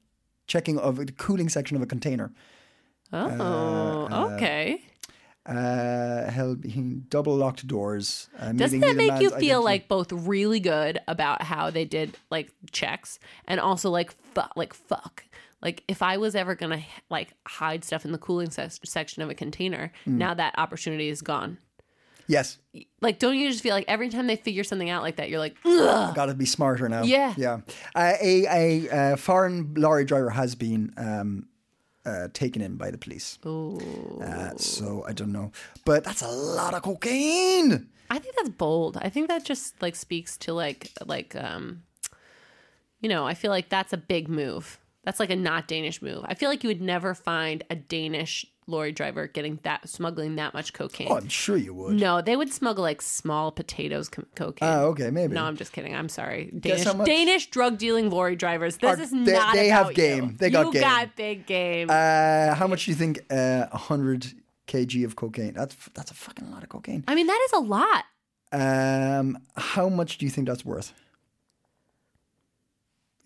Speaker 2: checking of the cooling section of a container,
Speaker 1: oh, okay.
Speaker 2: uh, held behind double locked doors. Uh,
Speaker 1: Doesn't
Speaker 2: meeting
Speaker 1: that
Speaker 2: neither
Speaker 1: make you
Speaker 2: man's
Speaker 1: feel
Speaker 2: identity-
Speaker 1: like both really good about how they did like checks and also like fuck, like fuck, like if I was ever gonna like hide stuff in the cooling se- section of a container,
Speaker 2: Mm.
Speaker 1: now that opportunity is gone.
Speaker 2: yes?
Speaker 1: Like, don't you just feel like every time they figure something out like that, you're like,
Speaker 2: Got to be smarter now.
Speaker 1: Yeah.
Speaker 2: yeah. Uh, a a uh, foreign lorry driver has been um, uh, taken in by the police. Uh, so I don't know, but that's a lot of cocaine.
Speaker 1: I think that's bold. I think that just like speaks to like like um you know, I feel like that's a big move. That's like a not Danish move. I feel like you would never find a Danish lorry driver getting that smuggling that much cocaine.
Speaker 2: Oh, I'm sure you would.
Speaker 1: no, they would smuggle like small potatoes co- cocaine.
Speaker 2: Ah, okay, maybe.
Speaker 1: No, I'm just kidding. I'm sorry. Danish,
Speaker 2: how much-
Speaker 1: Danish drug dealing lorry drivers. This
Speaker 2: Are-
Speaker 1: is
Speaker 2: they-
Speaker 1: not.
Speaker 2: they have
Speaker 1: about
Speaker 2: game.
Speaker 1: You.
Speaker 2: They got
Speaker 1: you
Speaker 2: game.
Speaker 1: got big game.
Speaker 2: Uh, how much do you think uh, 100 kg of cocaine? That's that's a fucking lot of cocaine.
Speaker 1: I mean, that is a lot.
Speaker 2: Um, how much do you think that's worth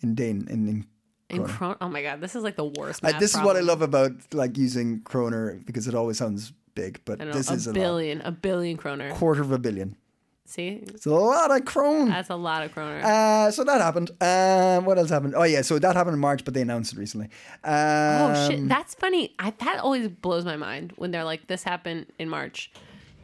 Speaker 2: in Dane? In, in
Speaker 1: In Cron- oh my god, this is like the worst.
Speaker 2: I-
Speaker 1: math
Speaker 2: this is what I
Speaker 1: problem.
Speaker 2: love about like using kroner because it always sounds big, but
Speaker 1: I don't know,
Speaker 2: this
Speaker 1: a
Speaker 2: is a lot.
Speaker 1: billion, a billion kroner.
Speaker 2: quarter of a billion.
Speaker 1: See,
Speaker 2: It's a lot of kron.
Speaker 1: that's a lot of kroner.
Speaker 2: Uh, so that happened. Um, what else happened? Oh yeah, so that happened in March, but they announced it recently. Um,
Speaker 1: oh shit, that's funny. I, that always blows my mind when they're like, "This happened in March."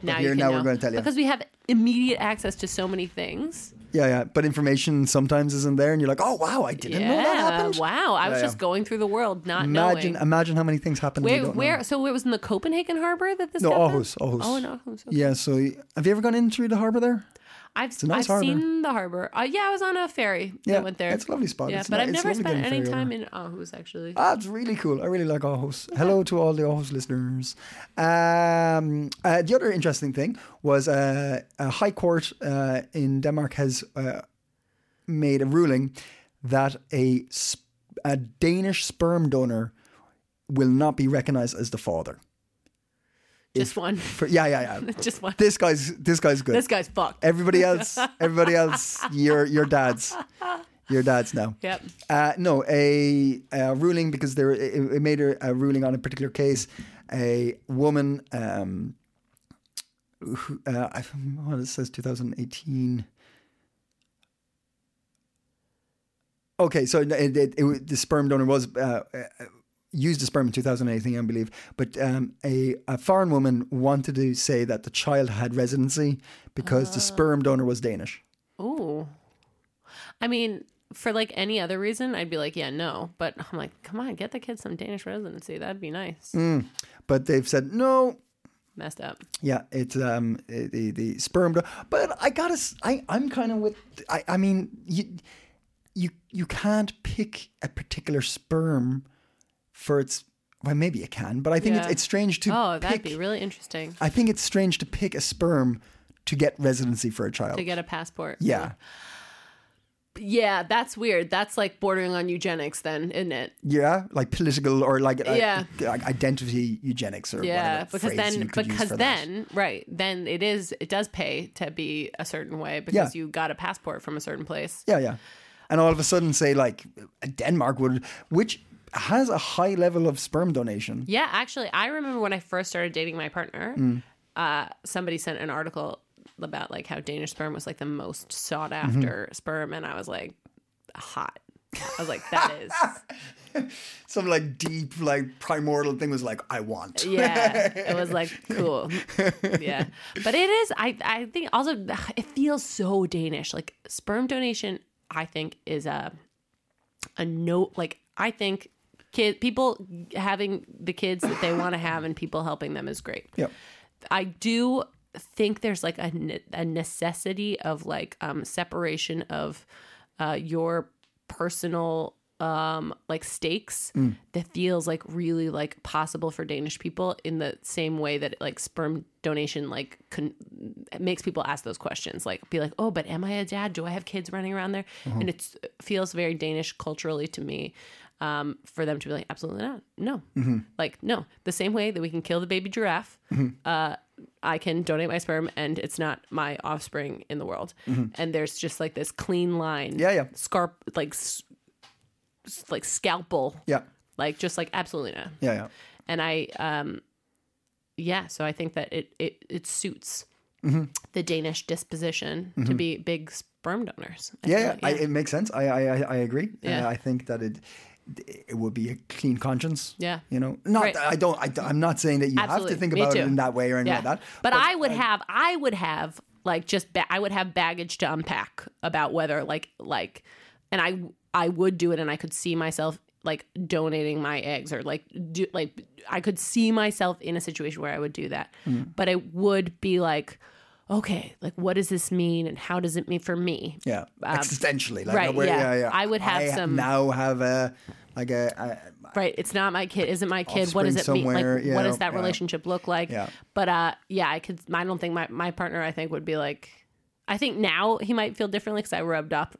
Speaker 1: Now you
Speaker 2: here,
Speaker 1: can
Speaker 2: now
Speaker 1: know.
Speaker 2: we're gonna tell you.
Speaker 1: because we have immediate access to so many things.
Speaker 2: Yeah, yeah. But information sometimes isn't there, and you're like, oh wow, I didn't
Speaker 1: yeah,
Speaker 2: know that happened.
Speaker 1: wow. I was
Speaker 2: yeah.
Speaker 1: just going through the world, not
Speaker 2: Imagine,
Speaker 1: knowing.
Speaker 2: imagine how many things happen. we
Speaker 1: Wait,
Speaker 2: don't
Speaker 1: where?
Speaker 2: Know.
Speaker 1: So it was in the Copenhagen harbor that this.
Speaker 2: No,
Speaker 1: happened?
Speaker 2: Aarhus, Aarhus.
Speaker 1: Oh, in Aarhus. okay.
Speaker 2: Yeah. So have you ever gone in through the harbor there?
Speaker 1: I've
Speaker 2: a nice
Speaker 1: I've
Speaker 2: harbor.
Speaker 1: seen the harbor. Uh, yeah, I was on a ferry.
Speaker 2: Yeah,
Speaker 1: that went there.
Speaker 2: it's a lovely spot.
Speaker 1: Yeah,
Speaker 2: It's
Speaker 1: but
Speaker 2: ni-
Speaker 1: I've
Speaker 2: it's
Speaker 1: never
Speaker 2: lovely
Speaker 1: spent
Speaker 2: getting
Speaker 1: any
Speaker 2: ferry
Speaker 1: time in Aarhus actually.
Speaker 2: Ah, it's really cool. I really like Aarhus. Hello to all the Aarhus listeners. Um, uh, the other interesting thing was uh, a high court uh, in Denmark has uh, made a ruling that a, sp- a Danish sperm donor will not be recognized as the father.
Speaker 1: just one.
Speaker 2: For, yeah, yeah, yeah.
Speaker 1: just one.
Speaker 2: This guy's this guy's good.
Speaker 1: This guy's fucked.
Speaker 2: Everybody else, everybody else, your your dad's, your dad's now.
Speaker 1: Yep.
Speaker 2: Uh, no, a, a ruling because there it, it made a, a ruling on a particular case. A woman, um, who, uh, I, oh, this says 2018. Okay, so it, it, it, was- the sperm donor was uh, uh, used the sperm in 2018, I believe. But um, a, a foreign woman wanted to say that the child had residency because the sperm donor was Danish.
Speaker 1: Ooh. I mean, for like any other reason, I'd be like, yeah, no. But I'm like, come on, get the kid some Danish residency. That'd be nice.
Speaker 2: Mm. But they've said no,
Speaker 1: Messed up.
Speaker 2: Yeah, it's um eh, the the sperm. do- But I gotta, s- I I'm kind of with. I I mean you you you can't pick a particular sperm for its. Well, maybe you can, but I think it's,
Speaker 1: Yeah.
Speaker 2: it's strange to.
Speaker 1: Oh, that'd
Speaker 2: pick-
Speaker 1: be really interesting
Speaker 2: I think it's strange to pick a sperm to get residency for a child.
Speaker 1: to get a passport.
Speaker 2: yeah,
Speaker 1: Yeah, that's weird. That's like bordering on eugenics, then, isn't it?
Speaker 2: yeah, like political or like uh,
Speaker 1: Yeah.
Speaker 2: like identity eugenics or
Speaker 1: Yeah,
Speaker 2: whatever
Speaker 1: because
Speaker 2: phrase you
Speaker 1: then,
Speaker 2: could use
Speaker 1: because
Speaker 2: for that.
Speaker 1: then, right, then it is, it does pay to be a certain way because
Speaker 2: Yeah.
Speaker 1: you got a passport from a certain place.
Speaker 2: Yeah, yeah. And all of a sudden, say like uh, Denmark would, which has a high level of sperm donation.
Speaker 1: Yeah, actually, I remember when I first started dating my partner, uh, somebody sent an article about like how Danish sperm was like the most sought after sperm, and I was like, hot. I was like, that is,
Speaker 2: Some like deep, like primordial thing was like, I want.
Speaker 1: yeah. It was like cool, yeah. But it is. I I think also ugh, it feels so Danish. Like sperm donation, I think is a a no. Like I think kid people having the kids that they want to have and people helping them is great.
Speaker 2: Yep.
Speaker 1: I do think there's like a, ne- a necessity of like um, separation of uh, your personal um, like stakes that feels like really like possible for Danish people in the same way that like sperm donation like con- it makes people ask those questions like be like oh but am I a dad do I have kids running around there and it's, it feels very Danish culturally to me um, for them to be like absolutely not no
Speaker 2: Mm-hmm.
Speaker 1: like no the same way that we can kill the baby giraffe uh, I can donate my sperm and it's not my offspring in the world. And there's just like this clean line.
Speaker 2: Mm-hmm. Yeah, yeah.
Speaker 1: Scarp, like, s- s- like scalpel.
Speaker 2: Yeah.
Speaker 1: Like, just like, absolutely not.
Speaker 2: Yeah. Yeah.
Speaker 1: And I, um, yeah, so I think that it, it, it suits
Speaker 2: Mm-hmm.
Speaker 1: the Danish disposition to be big sperm donors. I
Speaker 2: Yeah.
Speaker 1: feel
Speaker 2: yeah.
Speaker 1: like,
Speaker 2: I, it makes sense. I I I, I agree.
Speaker 1: Yeah.
Speaker 2: Uh, I think that it it would be a clean conscience.
Speaker 1: Yeah.
Speaker 2: You know, not
Speaker 1: Right.
Speaker 2: that I don't. I, don't- I'm not saying that you have
Speaker 1: Absolutely.
Speaker 2: to think
Speaker 1: Me
Speaker 2: about it
Speaker 1: too.
Speaker 2: in that way or anything like that.
Speaker 1: But, I would have, I would have like just, ba- I would have baggage to unpack about whether like, like, and I, I would do it and I could see myself like donating my eggs or like do like I could see myself in a situation where I would do that.
Speaker 2: Hmm.
Speaker 1: But I would be like, okay, like what does this mean and how does it mean for me?
Speaker 2: Yeah, existentially,
Speaker 1: um,
Speaker 2: like,
Speaker 1: right,
Speaker 2: where-
Speaker 1: yeah. I would have
Speaker 2: I
Speaker 1: some-
Speaker 2: now have a like a, a
Speaker 1: Right. It's not my kid. Isn't my kid? What
Speaker 2: Offspring
Speaker 1: does it mean? Like,
Speaker 2: somewhere, you
Speaker 1: what
Speaker 2: know,
Speaker 1: does that
Speaker 2: yeah.
Speaker 1: relationship look like?
Speaker 2: Yeah.
Speaker 1: But uh, yeah, I could. I don't think my my partner. I think would be like. I think now he might feel differently because I rubbed up.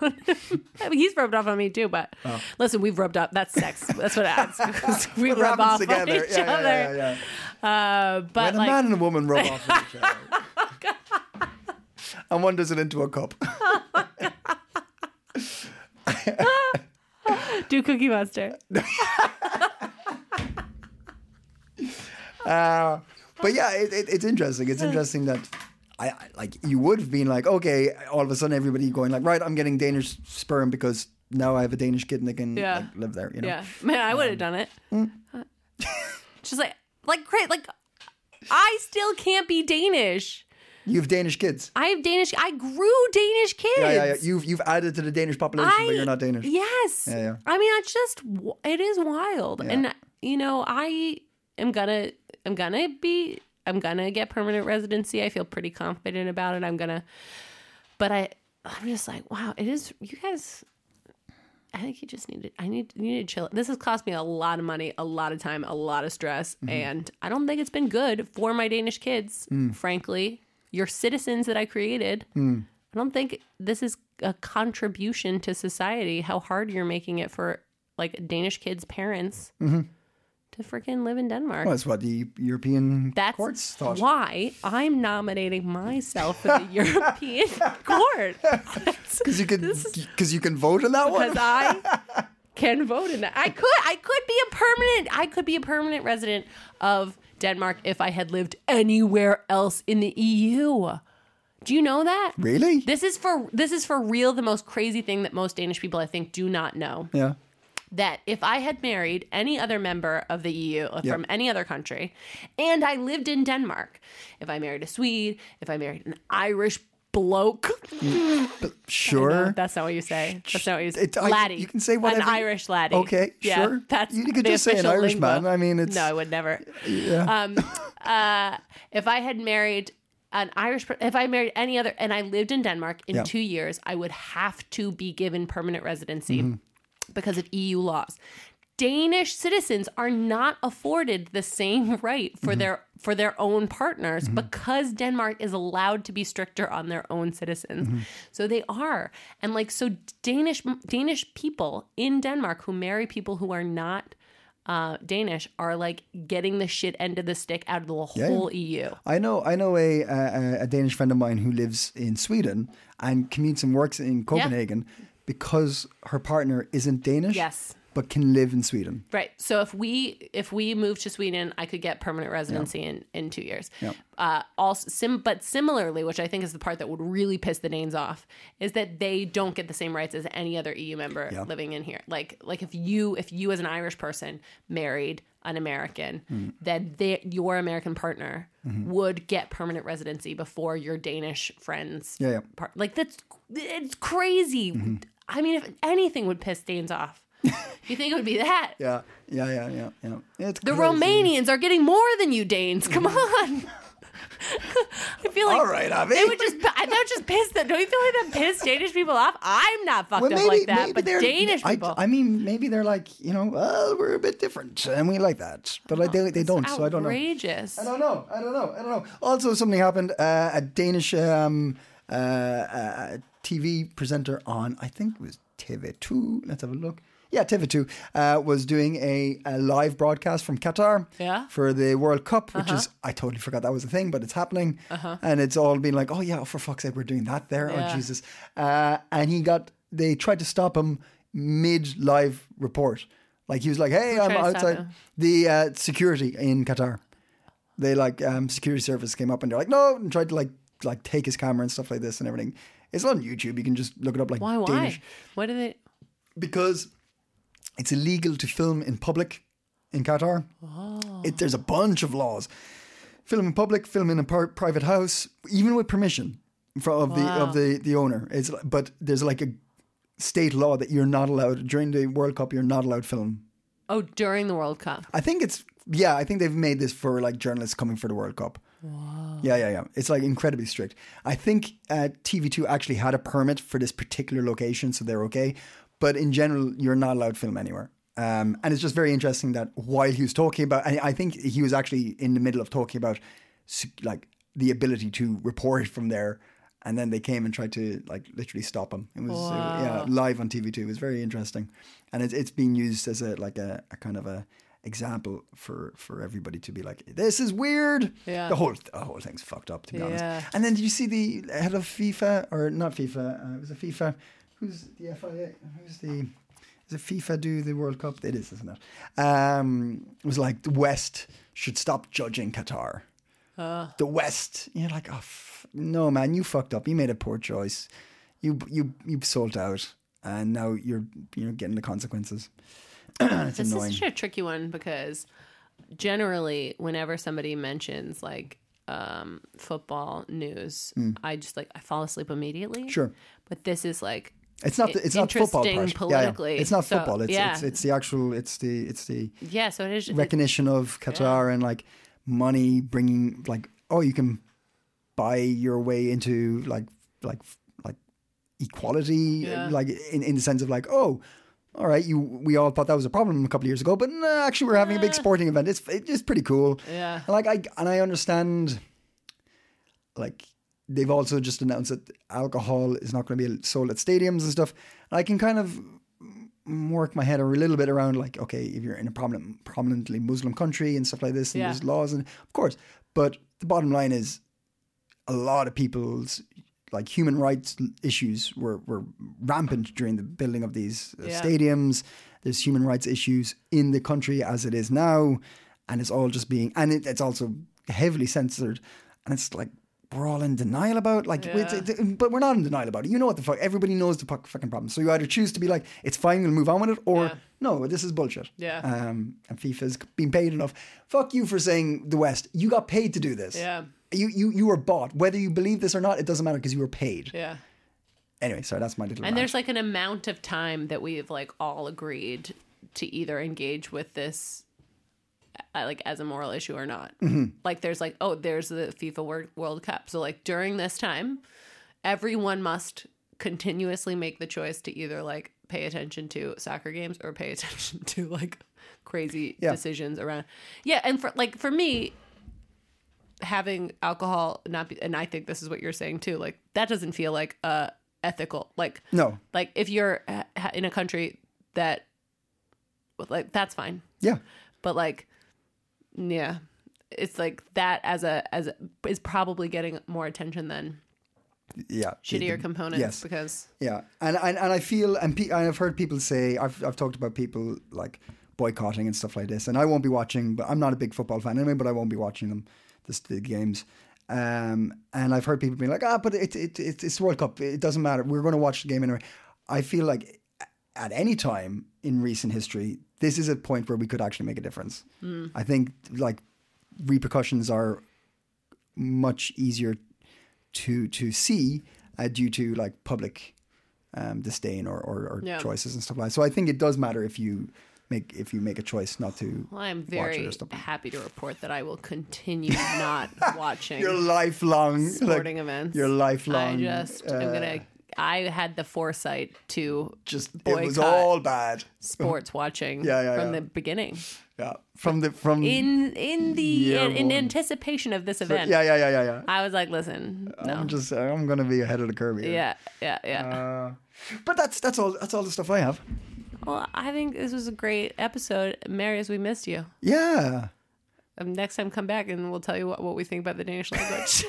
Speaker 1: on him. I mean, he's rubbed off on me too. But
Speaker 2: Oh.
Speaker 1: listen, we've rubbed up. That's sex. That's what happens. we
Speaker 2: What
Speaker 1: rub
Speaker 2: happens
Speaker 1: off on each
Speaker 2: Yeah, yeah,
Speaker 1: other.
Speaker 2: yeah, yeah,
Speaker 1: Uh,
Speaker 2: yeah.
Speaker 1: but
Speaker 2: When a
Speaker 1: like,
Speaker 2: man and a woman rub off on each other, and one does it into a cup.
Speaker 1: do Cookie Monster.
Speaker 2: Uh, but yeah, it, it, it's interesting. It's interesting that I, I like you would have been like, okay, all of a sudden everybody going like, right, I'm getting Danish sperm because now I have a Danish kid and they can
Speaker 1: Yeah.
Speaker 2: like, live there. You know,
Speaker 1: Yeah, man, I
Speaker 2: Um,
Speaker 1: would have done it.
Speaker 2: mm.
Speaker 1: Just like, like great, like I still can't be Danish.
Speaker 2: you have Danish kids.
Speaker 1: I have Danish. I grew Danish kids.
Speaker 2: Yeah, yeah, yeah. You've you've added to the Danish population, but you're not Danish.
Speaker 1: Yes.
Speaker 2: Yeah, yeah.
Speaker 1: I mean, it's just w- it is wild, and you know, I am gonna I'm gonna be I'm gonna get permanent residency. I feel pretty confident about it. I'm gonna, but I I'm just like, wow, it is. You guys, I think you just need to. I need you need to chill. This has cost me a lot of money, a lot of time, a lot of stress,
Speaker 2: Mm-hmm.
Speaker 1: and I don't think it's been good for my Danish kids.
Speaker 2: Mm.
Speaker 1: Frankly, your citizens that I created. I don't think this is a contribution to society. How hard you're making it for like Danish kids' parents to freaking live in Denmark.
Speaker 2: Well, that's Mm-hmm. what the European
Speaker 1: That's
Speaker 2: courts thought.
Speaker 1: why I'm nominating myself for the European Court
Speaker 2: Because you can, because you can vote on that
Speaker 1: because
Speaker 2: one.
Speaker 1: I can vote in that. I could, I could be a permanent, I could be a permanent resident of Denmark if I had lived anywhere else in the EU. Do you know that?
Speaker 2: Really?
Speaker 1: This is for this is for real the most crazy thing that most Danish people I think do not know.
Speaker 2: Yeah.
Speaker 1: That if I had married any other member of the EU or
Speaker 2: Yeah.
Speaker 1: from any other country and I lived in Denmark, if I married a Swede, if I married an Irish bloke,
Speaker 2: Sure.
Speaker 1: no, that's not what you say. That's not what you say.
Speaker 2: It- I-
Speaker 1: laddie.
Speaker 2: you can say whatever
Speaker 1: An
Speaker 2: you-
Speaker 1: Irish laddie.
Speaker 2: Okay,
Speaker 1: yeah,
Speaker 2: sure.
Speaker 1: That's
Speaker 2: You could
Speaker 1: the
Speaker 2: just say an
Speaker 1: official
Speaker 2: Irish
Speaker 1: lingua.
Speaker 2: man. I mean, it's-
Speaker 1: no, I would never.
Speaker 2: yeah.
Speaker 1: Um, uh, if I had married an Irish, per- if I married any other, and I lived in Denmark in
Speaker 2: Yeah.
Speaker 1: two years, I would have to be given permanent residency
Speaker 2: Mm-hmm.
Speaker 1: because of EU laws. Danish citizens are not afforded the same right for their for their own partners because Denmark is allowed to be stricter on their own citizens. So they are. And like so Danish Danish people in Denmark who marry people who are not uh, Danish are like getting the shit end of the stick out of the whole E EU.
Speaker 2: I know, I know a, a a Danish friend of mine who lives in Sweden and commutes and works in Copenhagen because her partner isn't Danish.
Speaker 1: Yes.
Speaker 2: But can live in Sweden.
Speaker 1: Right. So if we if we move to Sweden, I could get permanent residency in in two years. Uh, also, sim, but similarly, which I think is the part that would really piss the Danes off, is that they don't get the same rights as any other EU member living in here. Like like if you if you as an Irish person married an American,
Speaker 2: Mm-hmm.
Speaker 1: then they, your American partner would get permanent residency before your Danish friends.
Speaker 2: Yeah, Mm-hmm. yeah.
Speaker 1: Part. Like that's it's crazy. I mean, if anything would piss Danes off. you think it would be that?
Speaker 2: Yeah, yeah, yeah, yeah, yeah. It's
Speaker 1: The
Speaker 2: crazy.
Speaker 1: Romanians are getting more than you Danes. Come on. I feel like
Speaker 2: Mm-hmm. All right, Avi.
Speaker 1: they would just I- that would just piss them. Don't you feel like that pissed Danish people off? I'm not fucked
Speaker 2: Well,
Speaker 1: up like that, but
Speaker 2: they're-
Speaker 1: Danish
Speaker 2: I-
Speaker 1: people.
Speaker 2: I, mean, maybe they're like, you know, well, we're a bit different and we like that, but like
Speaker 1: Oh,
Speaker 2: they, they don't. So I don't know.
Speaker 1: outrageous.
Speaker 2: I don't know. I don't know. I don't know. Also, something happened. Uh, a Danish um, uh, uh, TV presenter on, I think it was TV2. Let's have a look. Yeah, TV2 uh, was doing a, a live broadcast from Qatar
Speaker 1: Yeah. Uh-huh.
Speaker 2: for the World Cup, which is, I totally forgot that was a thing, but it's happening. And it's all been like, oh, yeah, oh, for fuck's sake, we're doing that there. Oh, Jesus. Uh, and he got, they tried to stop him mid live report. Like he was like, hey,
Speaker 1: tried
Speaker 2: I'm
Speaker 1: to stop
Speaker 2: outside.
Speaker 1: him?
Speaker 2: The uh, security in Qatar they like um, security service came up and they're like no and tried to like like take his camera and stuff like this and everything it's on youtube you can just look it up like
Speaker 1: why why?
Speaker 2: danish
Speaker 1: What did it
Speaker 2: because it's illegal to film in public in qatar
Speaker 1: Oh.
Speaker 2: it, there's a bunch of laws film in public film in a par- private house even with permission from of the of the the owner it's but there's like a state law that you're not allowed during the World Cup. You're not allowed film.
Speaker 1: Oh, during the World Cup.
Speaker 2: I think it's yeah. I think they've made this for like journalists coming for the World Cup. Yeah, yeah, yeah. It's like incredibly strict. I think uh, TV2 actually had a permit for this particular location, so they're okay. But in general, you're not allowed film anywhere. Um, and it's just very interesting that while he was talking about, and I think he was actually in the middle of talking about s- like the ability to report from there, and then they came and tried to like literally stop him. It was uh, yeah live on TV2. It was very interesting, and it's it's being used as a like a, a kind of a example for for everybody to be like, this is weird.
Speaker 1: Yeah.
Speaker 2: The whole the whole thing's fucked up to be
Speaker 1: Yeah.
Speaker 2: honest. And then did you see the head of FIFA or not FIFA? Uh, it was a FIFA. Who's the FIA? Who's the is it FIFA do the World Cup? It is, isn't it? Um, it was like the West should stop judging Qatar. The West, you're like, oh f- no, man, you fucked up. You made a poor choice. You you you sold out, and now you're you're getting the consequences. it's
Speaker 1: This
Speaker 2: annoying.
Speaker 1: is such a tricky one because generally, whenever somebody mentions like um, football news, I just like I fall asleep immediately.
Speaker 2: Hmm. Sure.
Speaker 1: but this is like
Speaker 2: It's not. The, it's not football.
Speaker 1: interesting
Speaker 2: part.
Speaker 1: politically.
Speaker 2: Yeah, yeah. It's not
Speaker 1: So,
Speaker 2: football. It's,
Speaker 1: yeah.
Speaker 2: it's it's the actual. It's the it's the
Speaker 1: yeah. So it is
Speaker 2: recognition of Qatar and like money bringing like oh you can buy your way into like like like equality
Speaker 1: Yeah.
Speaker 2: like in in the sense of like oh. All right, you. We all thought that was a problem a couple of years ago, but no, actually, we're having a big sporting event. It's it's pretty cool.
Speaker 1: Yeah.
Speaker 2: And like I and I understand like they've also just announced that alcohol is not going to be sold at stadiums and stuff. And I can kind of m- work my head a little bit around like, okay, if you're in a prominent, prominently Muslim country and stuff like this, and
Speaker 1: Yeah.
Speaker 2: there's laws and of course, but the bottom line is a lot of people's like human rights l- issues were, were rampant during the building of these uh,
Speaker 1: Yeah.
Speaker 2: stadiums. There's human rights issues in the country as it is now, and it's all just being and it, it's also heavily censored, and it's like we're all in denial about like, it's- it's- but we're not in denial about it. You know what the fuck? Everybody knows the fuck, fucking problem. So you either choose to be like, it's fine, we'll move on with it, or
Speaker 1: Yeah.
Speaker 2: no, this is bullshit.
Speaker 1: Yeah.
Speaker 2: Um, and FIFA's been paid enough. Fuck you for saying the West. You got paid to do this.
Speaker 1: Yeah.
Speaker 2: You you you were bought. Whether you believe this or not, it doesn't matter because you were paid.
Speaker 1: yeah.
Speaker 2: Anyway, sorry, that's my
Speaker 1: And
Speaker 2: little. rant.
Speaker 1: there's like an amount of time that we've like all agreed to either engage with this uh, like as a moral issue or not. Like there's like oh there's the FIFA World World Cup. So like during this time everyone must continuously make the choice to either like pay attention to soccer games or pay attention to like crazy
Speaker 2: Yeah.
Speaker 1: decisions around. Yeah, and for like for me having alcohol not be and I think this is what you're saying too like that doesn't feel like uh ethical like
Speaker 2: no.
Speaker 1: like if you're ha- ha- in a country that like that's fine
Speaker 2: Yeah.
Speaker 1: but like yeah it's like that as a as a, is probably getting more attention than
Speaker 2: Yeah.
Speaker 1: shittier
Speaker 2: The-
Speaker 1: components
Speaker 2: yes.
Speaker 1: because
Speaker 2: Yeah, and and, and I feel and, pe- and I've heard people say I've I've talked about people like boycotting and stuff like this, and I won't be watching. But I'm not a big football fan anyway, but I won't be watching them this, the games. Um, and I've heard people being like, ah, but it, it, it it's the World Cup. It doesn't matter. We're going to watch the game anyway. I feel like at any time in recent history, this is a point where we could actually make a difference.
Speaker 1: Hmm.
Speaker 2: I think like repercussions are much easier to to see uh, due to like public um, disdain or, or, or
Speaker 1: Yeah.
Speaker 2: choices and stuff like that. So I think it does matter if you make if you make a choice not to.
Speaker 1: well, I'm
Speaker 2: watch it
Speaker 1: very
Speaker 2: or something.
Speaker 1: happy to report that I will continue not watching
Speaker 2: Your lifelong like,
Speaker 1: sporting events.
Speaker 2: Your lifelong. uh,
Speaker 1: I just I'm gonna I had the foresight to
Speaker 2: just it was
Speaker 1: boycott
Speaker 2: all bad.
Speaker 1: sports watching
Speaker 2: Yeah, yeah,
Speaker 1: from
Speaker 2: yeah.
Speaker 1: the beginning.
Speaker 2: Yeah, from the from
Speaker 1: In in the
Speaker 2: Year
Speaker 1: in, in
Speaker 2: one.
Speaker 1: anticipation of this
Speaker 2: yeah
Speaker 1: event.
Speaker 2: yeah yeah yeah yeah.
Speaker 1: I was like, listen, no.
Speaker 2: I'm just I'm gonna be ahead of the curve here. Uh,
Speaker 1: yeah, yeah, yeah.
Speaker 2: But that's that's all that's all the stuff I have.
Speaker 1: well, I think this was a great episode. Marius, we missed you.
Speaker 2: Yeah.
Speaker 1: Um, next time, come back and we'll tell you what, what we think about the Danish language.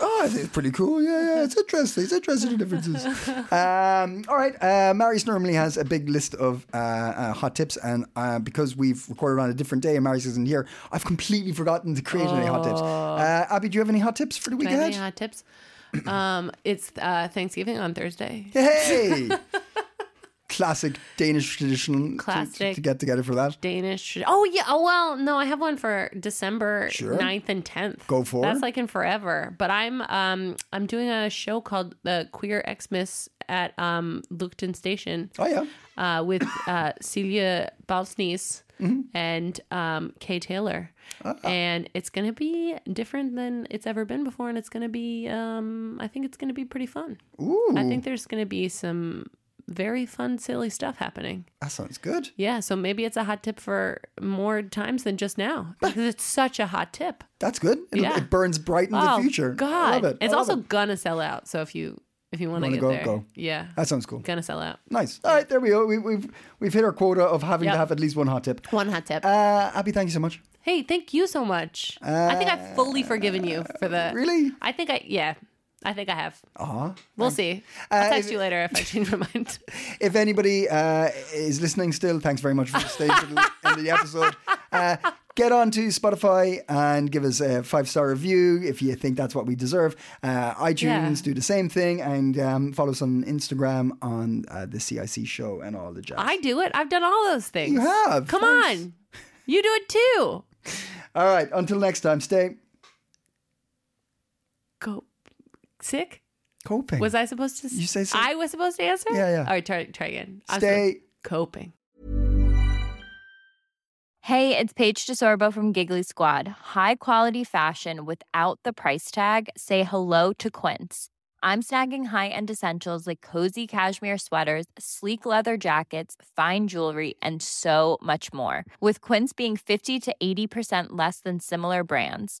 Speaker 2: Oh, I think it's pretty cool. Yeah, yeah, it's interesting. It's interesting the differences. Um, all right, uh, Marius normally has a big list of uh, uh, hot tips, and uh, because we've recorded on a different day and Marius isn't here, I've completely forgotten to create any hot tips. Uh, Abby, do you have any hot tips for the week
Speaker 1: Any
Speaker 2: ahead?
Speaker 1: hot tips? Um, it's uh, Thanksgiving on Thursday.
Speaker 2: Hey, classic Danish tradition to- to,
Speaker 1: Classic.
Speaker 2: to get together for that.
Speaker 1: Danish. Oh yeah. Oh well. No, I have one for December
Speaker 2: Sure.
Speaker 1: 9th and tenth.
Speaker 2: Go for
Speaker 1: That's
Speaker 2: it.
Speaker 1: like in forever. But I'm um I'm doing a show called the Queer Xmas at um Luchten Station
Speaker 2: Oh yeah,
Speaker 1: uh, with uh, Celia Balsnies
Speaker 2: Mm-hmm.
Speaker 1: and um, Kay Taylor.
Speaker 2: Ah.
Speaker 1: And it's going to be different than it's ever been before. And it's going to be, um, I think it's going to be pretty fun.
Speaker 2: ooh,
Speaker 1: I think there's going to be some very fun, silly stuff happening.
Speaker 2: that sounds good.
Speaker 1: Yeah. So maybe it's a hot tip for more times than just now because it's such a hot tip.
Speaker 2: That's good. It,
Speaker 1: Yeah.
Speaker 2: it burns bright in the future.
Speaker 1: God.
Speaker 2: I love it.
Speaker 1: It's
Speaker 2: I love
Speaker 1: also
Speaker 2: it.
Speaker 1: going to sell out. So if you, if you want to
Speaker 2: Wanna
Speaker 1: get
Speaker 2: go,
Speaker 1: there,
Speaker 2: go.
Speaker 1: yeah,
Speaker 2: that sounds cool.
Speaker 1: going to sell out.
Speaker 2: Nice. All right, there we go. We, we've we've hit our quota of having to
Speaker 1: Yep.
Speaker 2: have at least one hot tip.
Speaker 1: One hot tip.
Speaker 2: Uh, Abby, thank you so much.
Speaker 1: Hey, thank you so much. I think I've fully forgiven you for the.
Speaker 2: Uh, really?
Speaker 1: I think I yeah. I think I have.
Speaker 2: Aw.
Speaker 1: We'll see. I'll
Speaker 2: Uh,
Speaker 1: text
Speaker 2: if-
Speaker 1: you later if I change my mind.
Speaker 2: If anybody uh, is listening still, thanks very much for staying to the end of the episode. Uh, get on to Spotify and give us a five star review if you think that's what we deserve. Uh, iTunes,
Speaker 1: Yeah.
Speaker 2: do the same thing, and um, follow us on Instagram on uh, the CIC show and all the jazz.
Speaker 1: I do it. I've done all those things.
Speaker 2: You have.
Speaker 1: Come
Speaker 2: Thanks.
Speaker 1: on. You do it too.
Speaker 2: All right, until next time, stay
Speaker 1: Go sick?
Speaker 2: coping.
Speaker 1: Was I supposed to s-
Speaker 2: You say sick.
Speaker 1: I was supposed to answer?
Speaker 2: Yeah, yeah.
Speaker 1: All right, try try again. I was
Speaker 2: Stay-
Speaker 1: supposed- coping.
Speaker 3: Hey, it's Paige DeSorbo from Giggly Squad. High quality fashion without the price tag. Say hello to Quince. I'm snagging high-end essentials like cozy cashmere sweaters, sleek leather jackets, fine jewelry, and so much more. With Quince being 50 to 80% less than similar brands.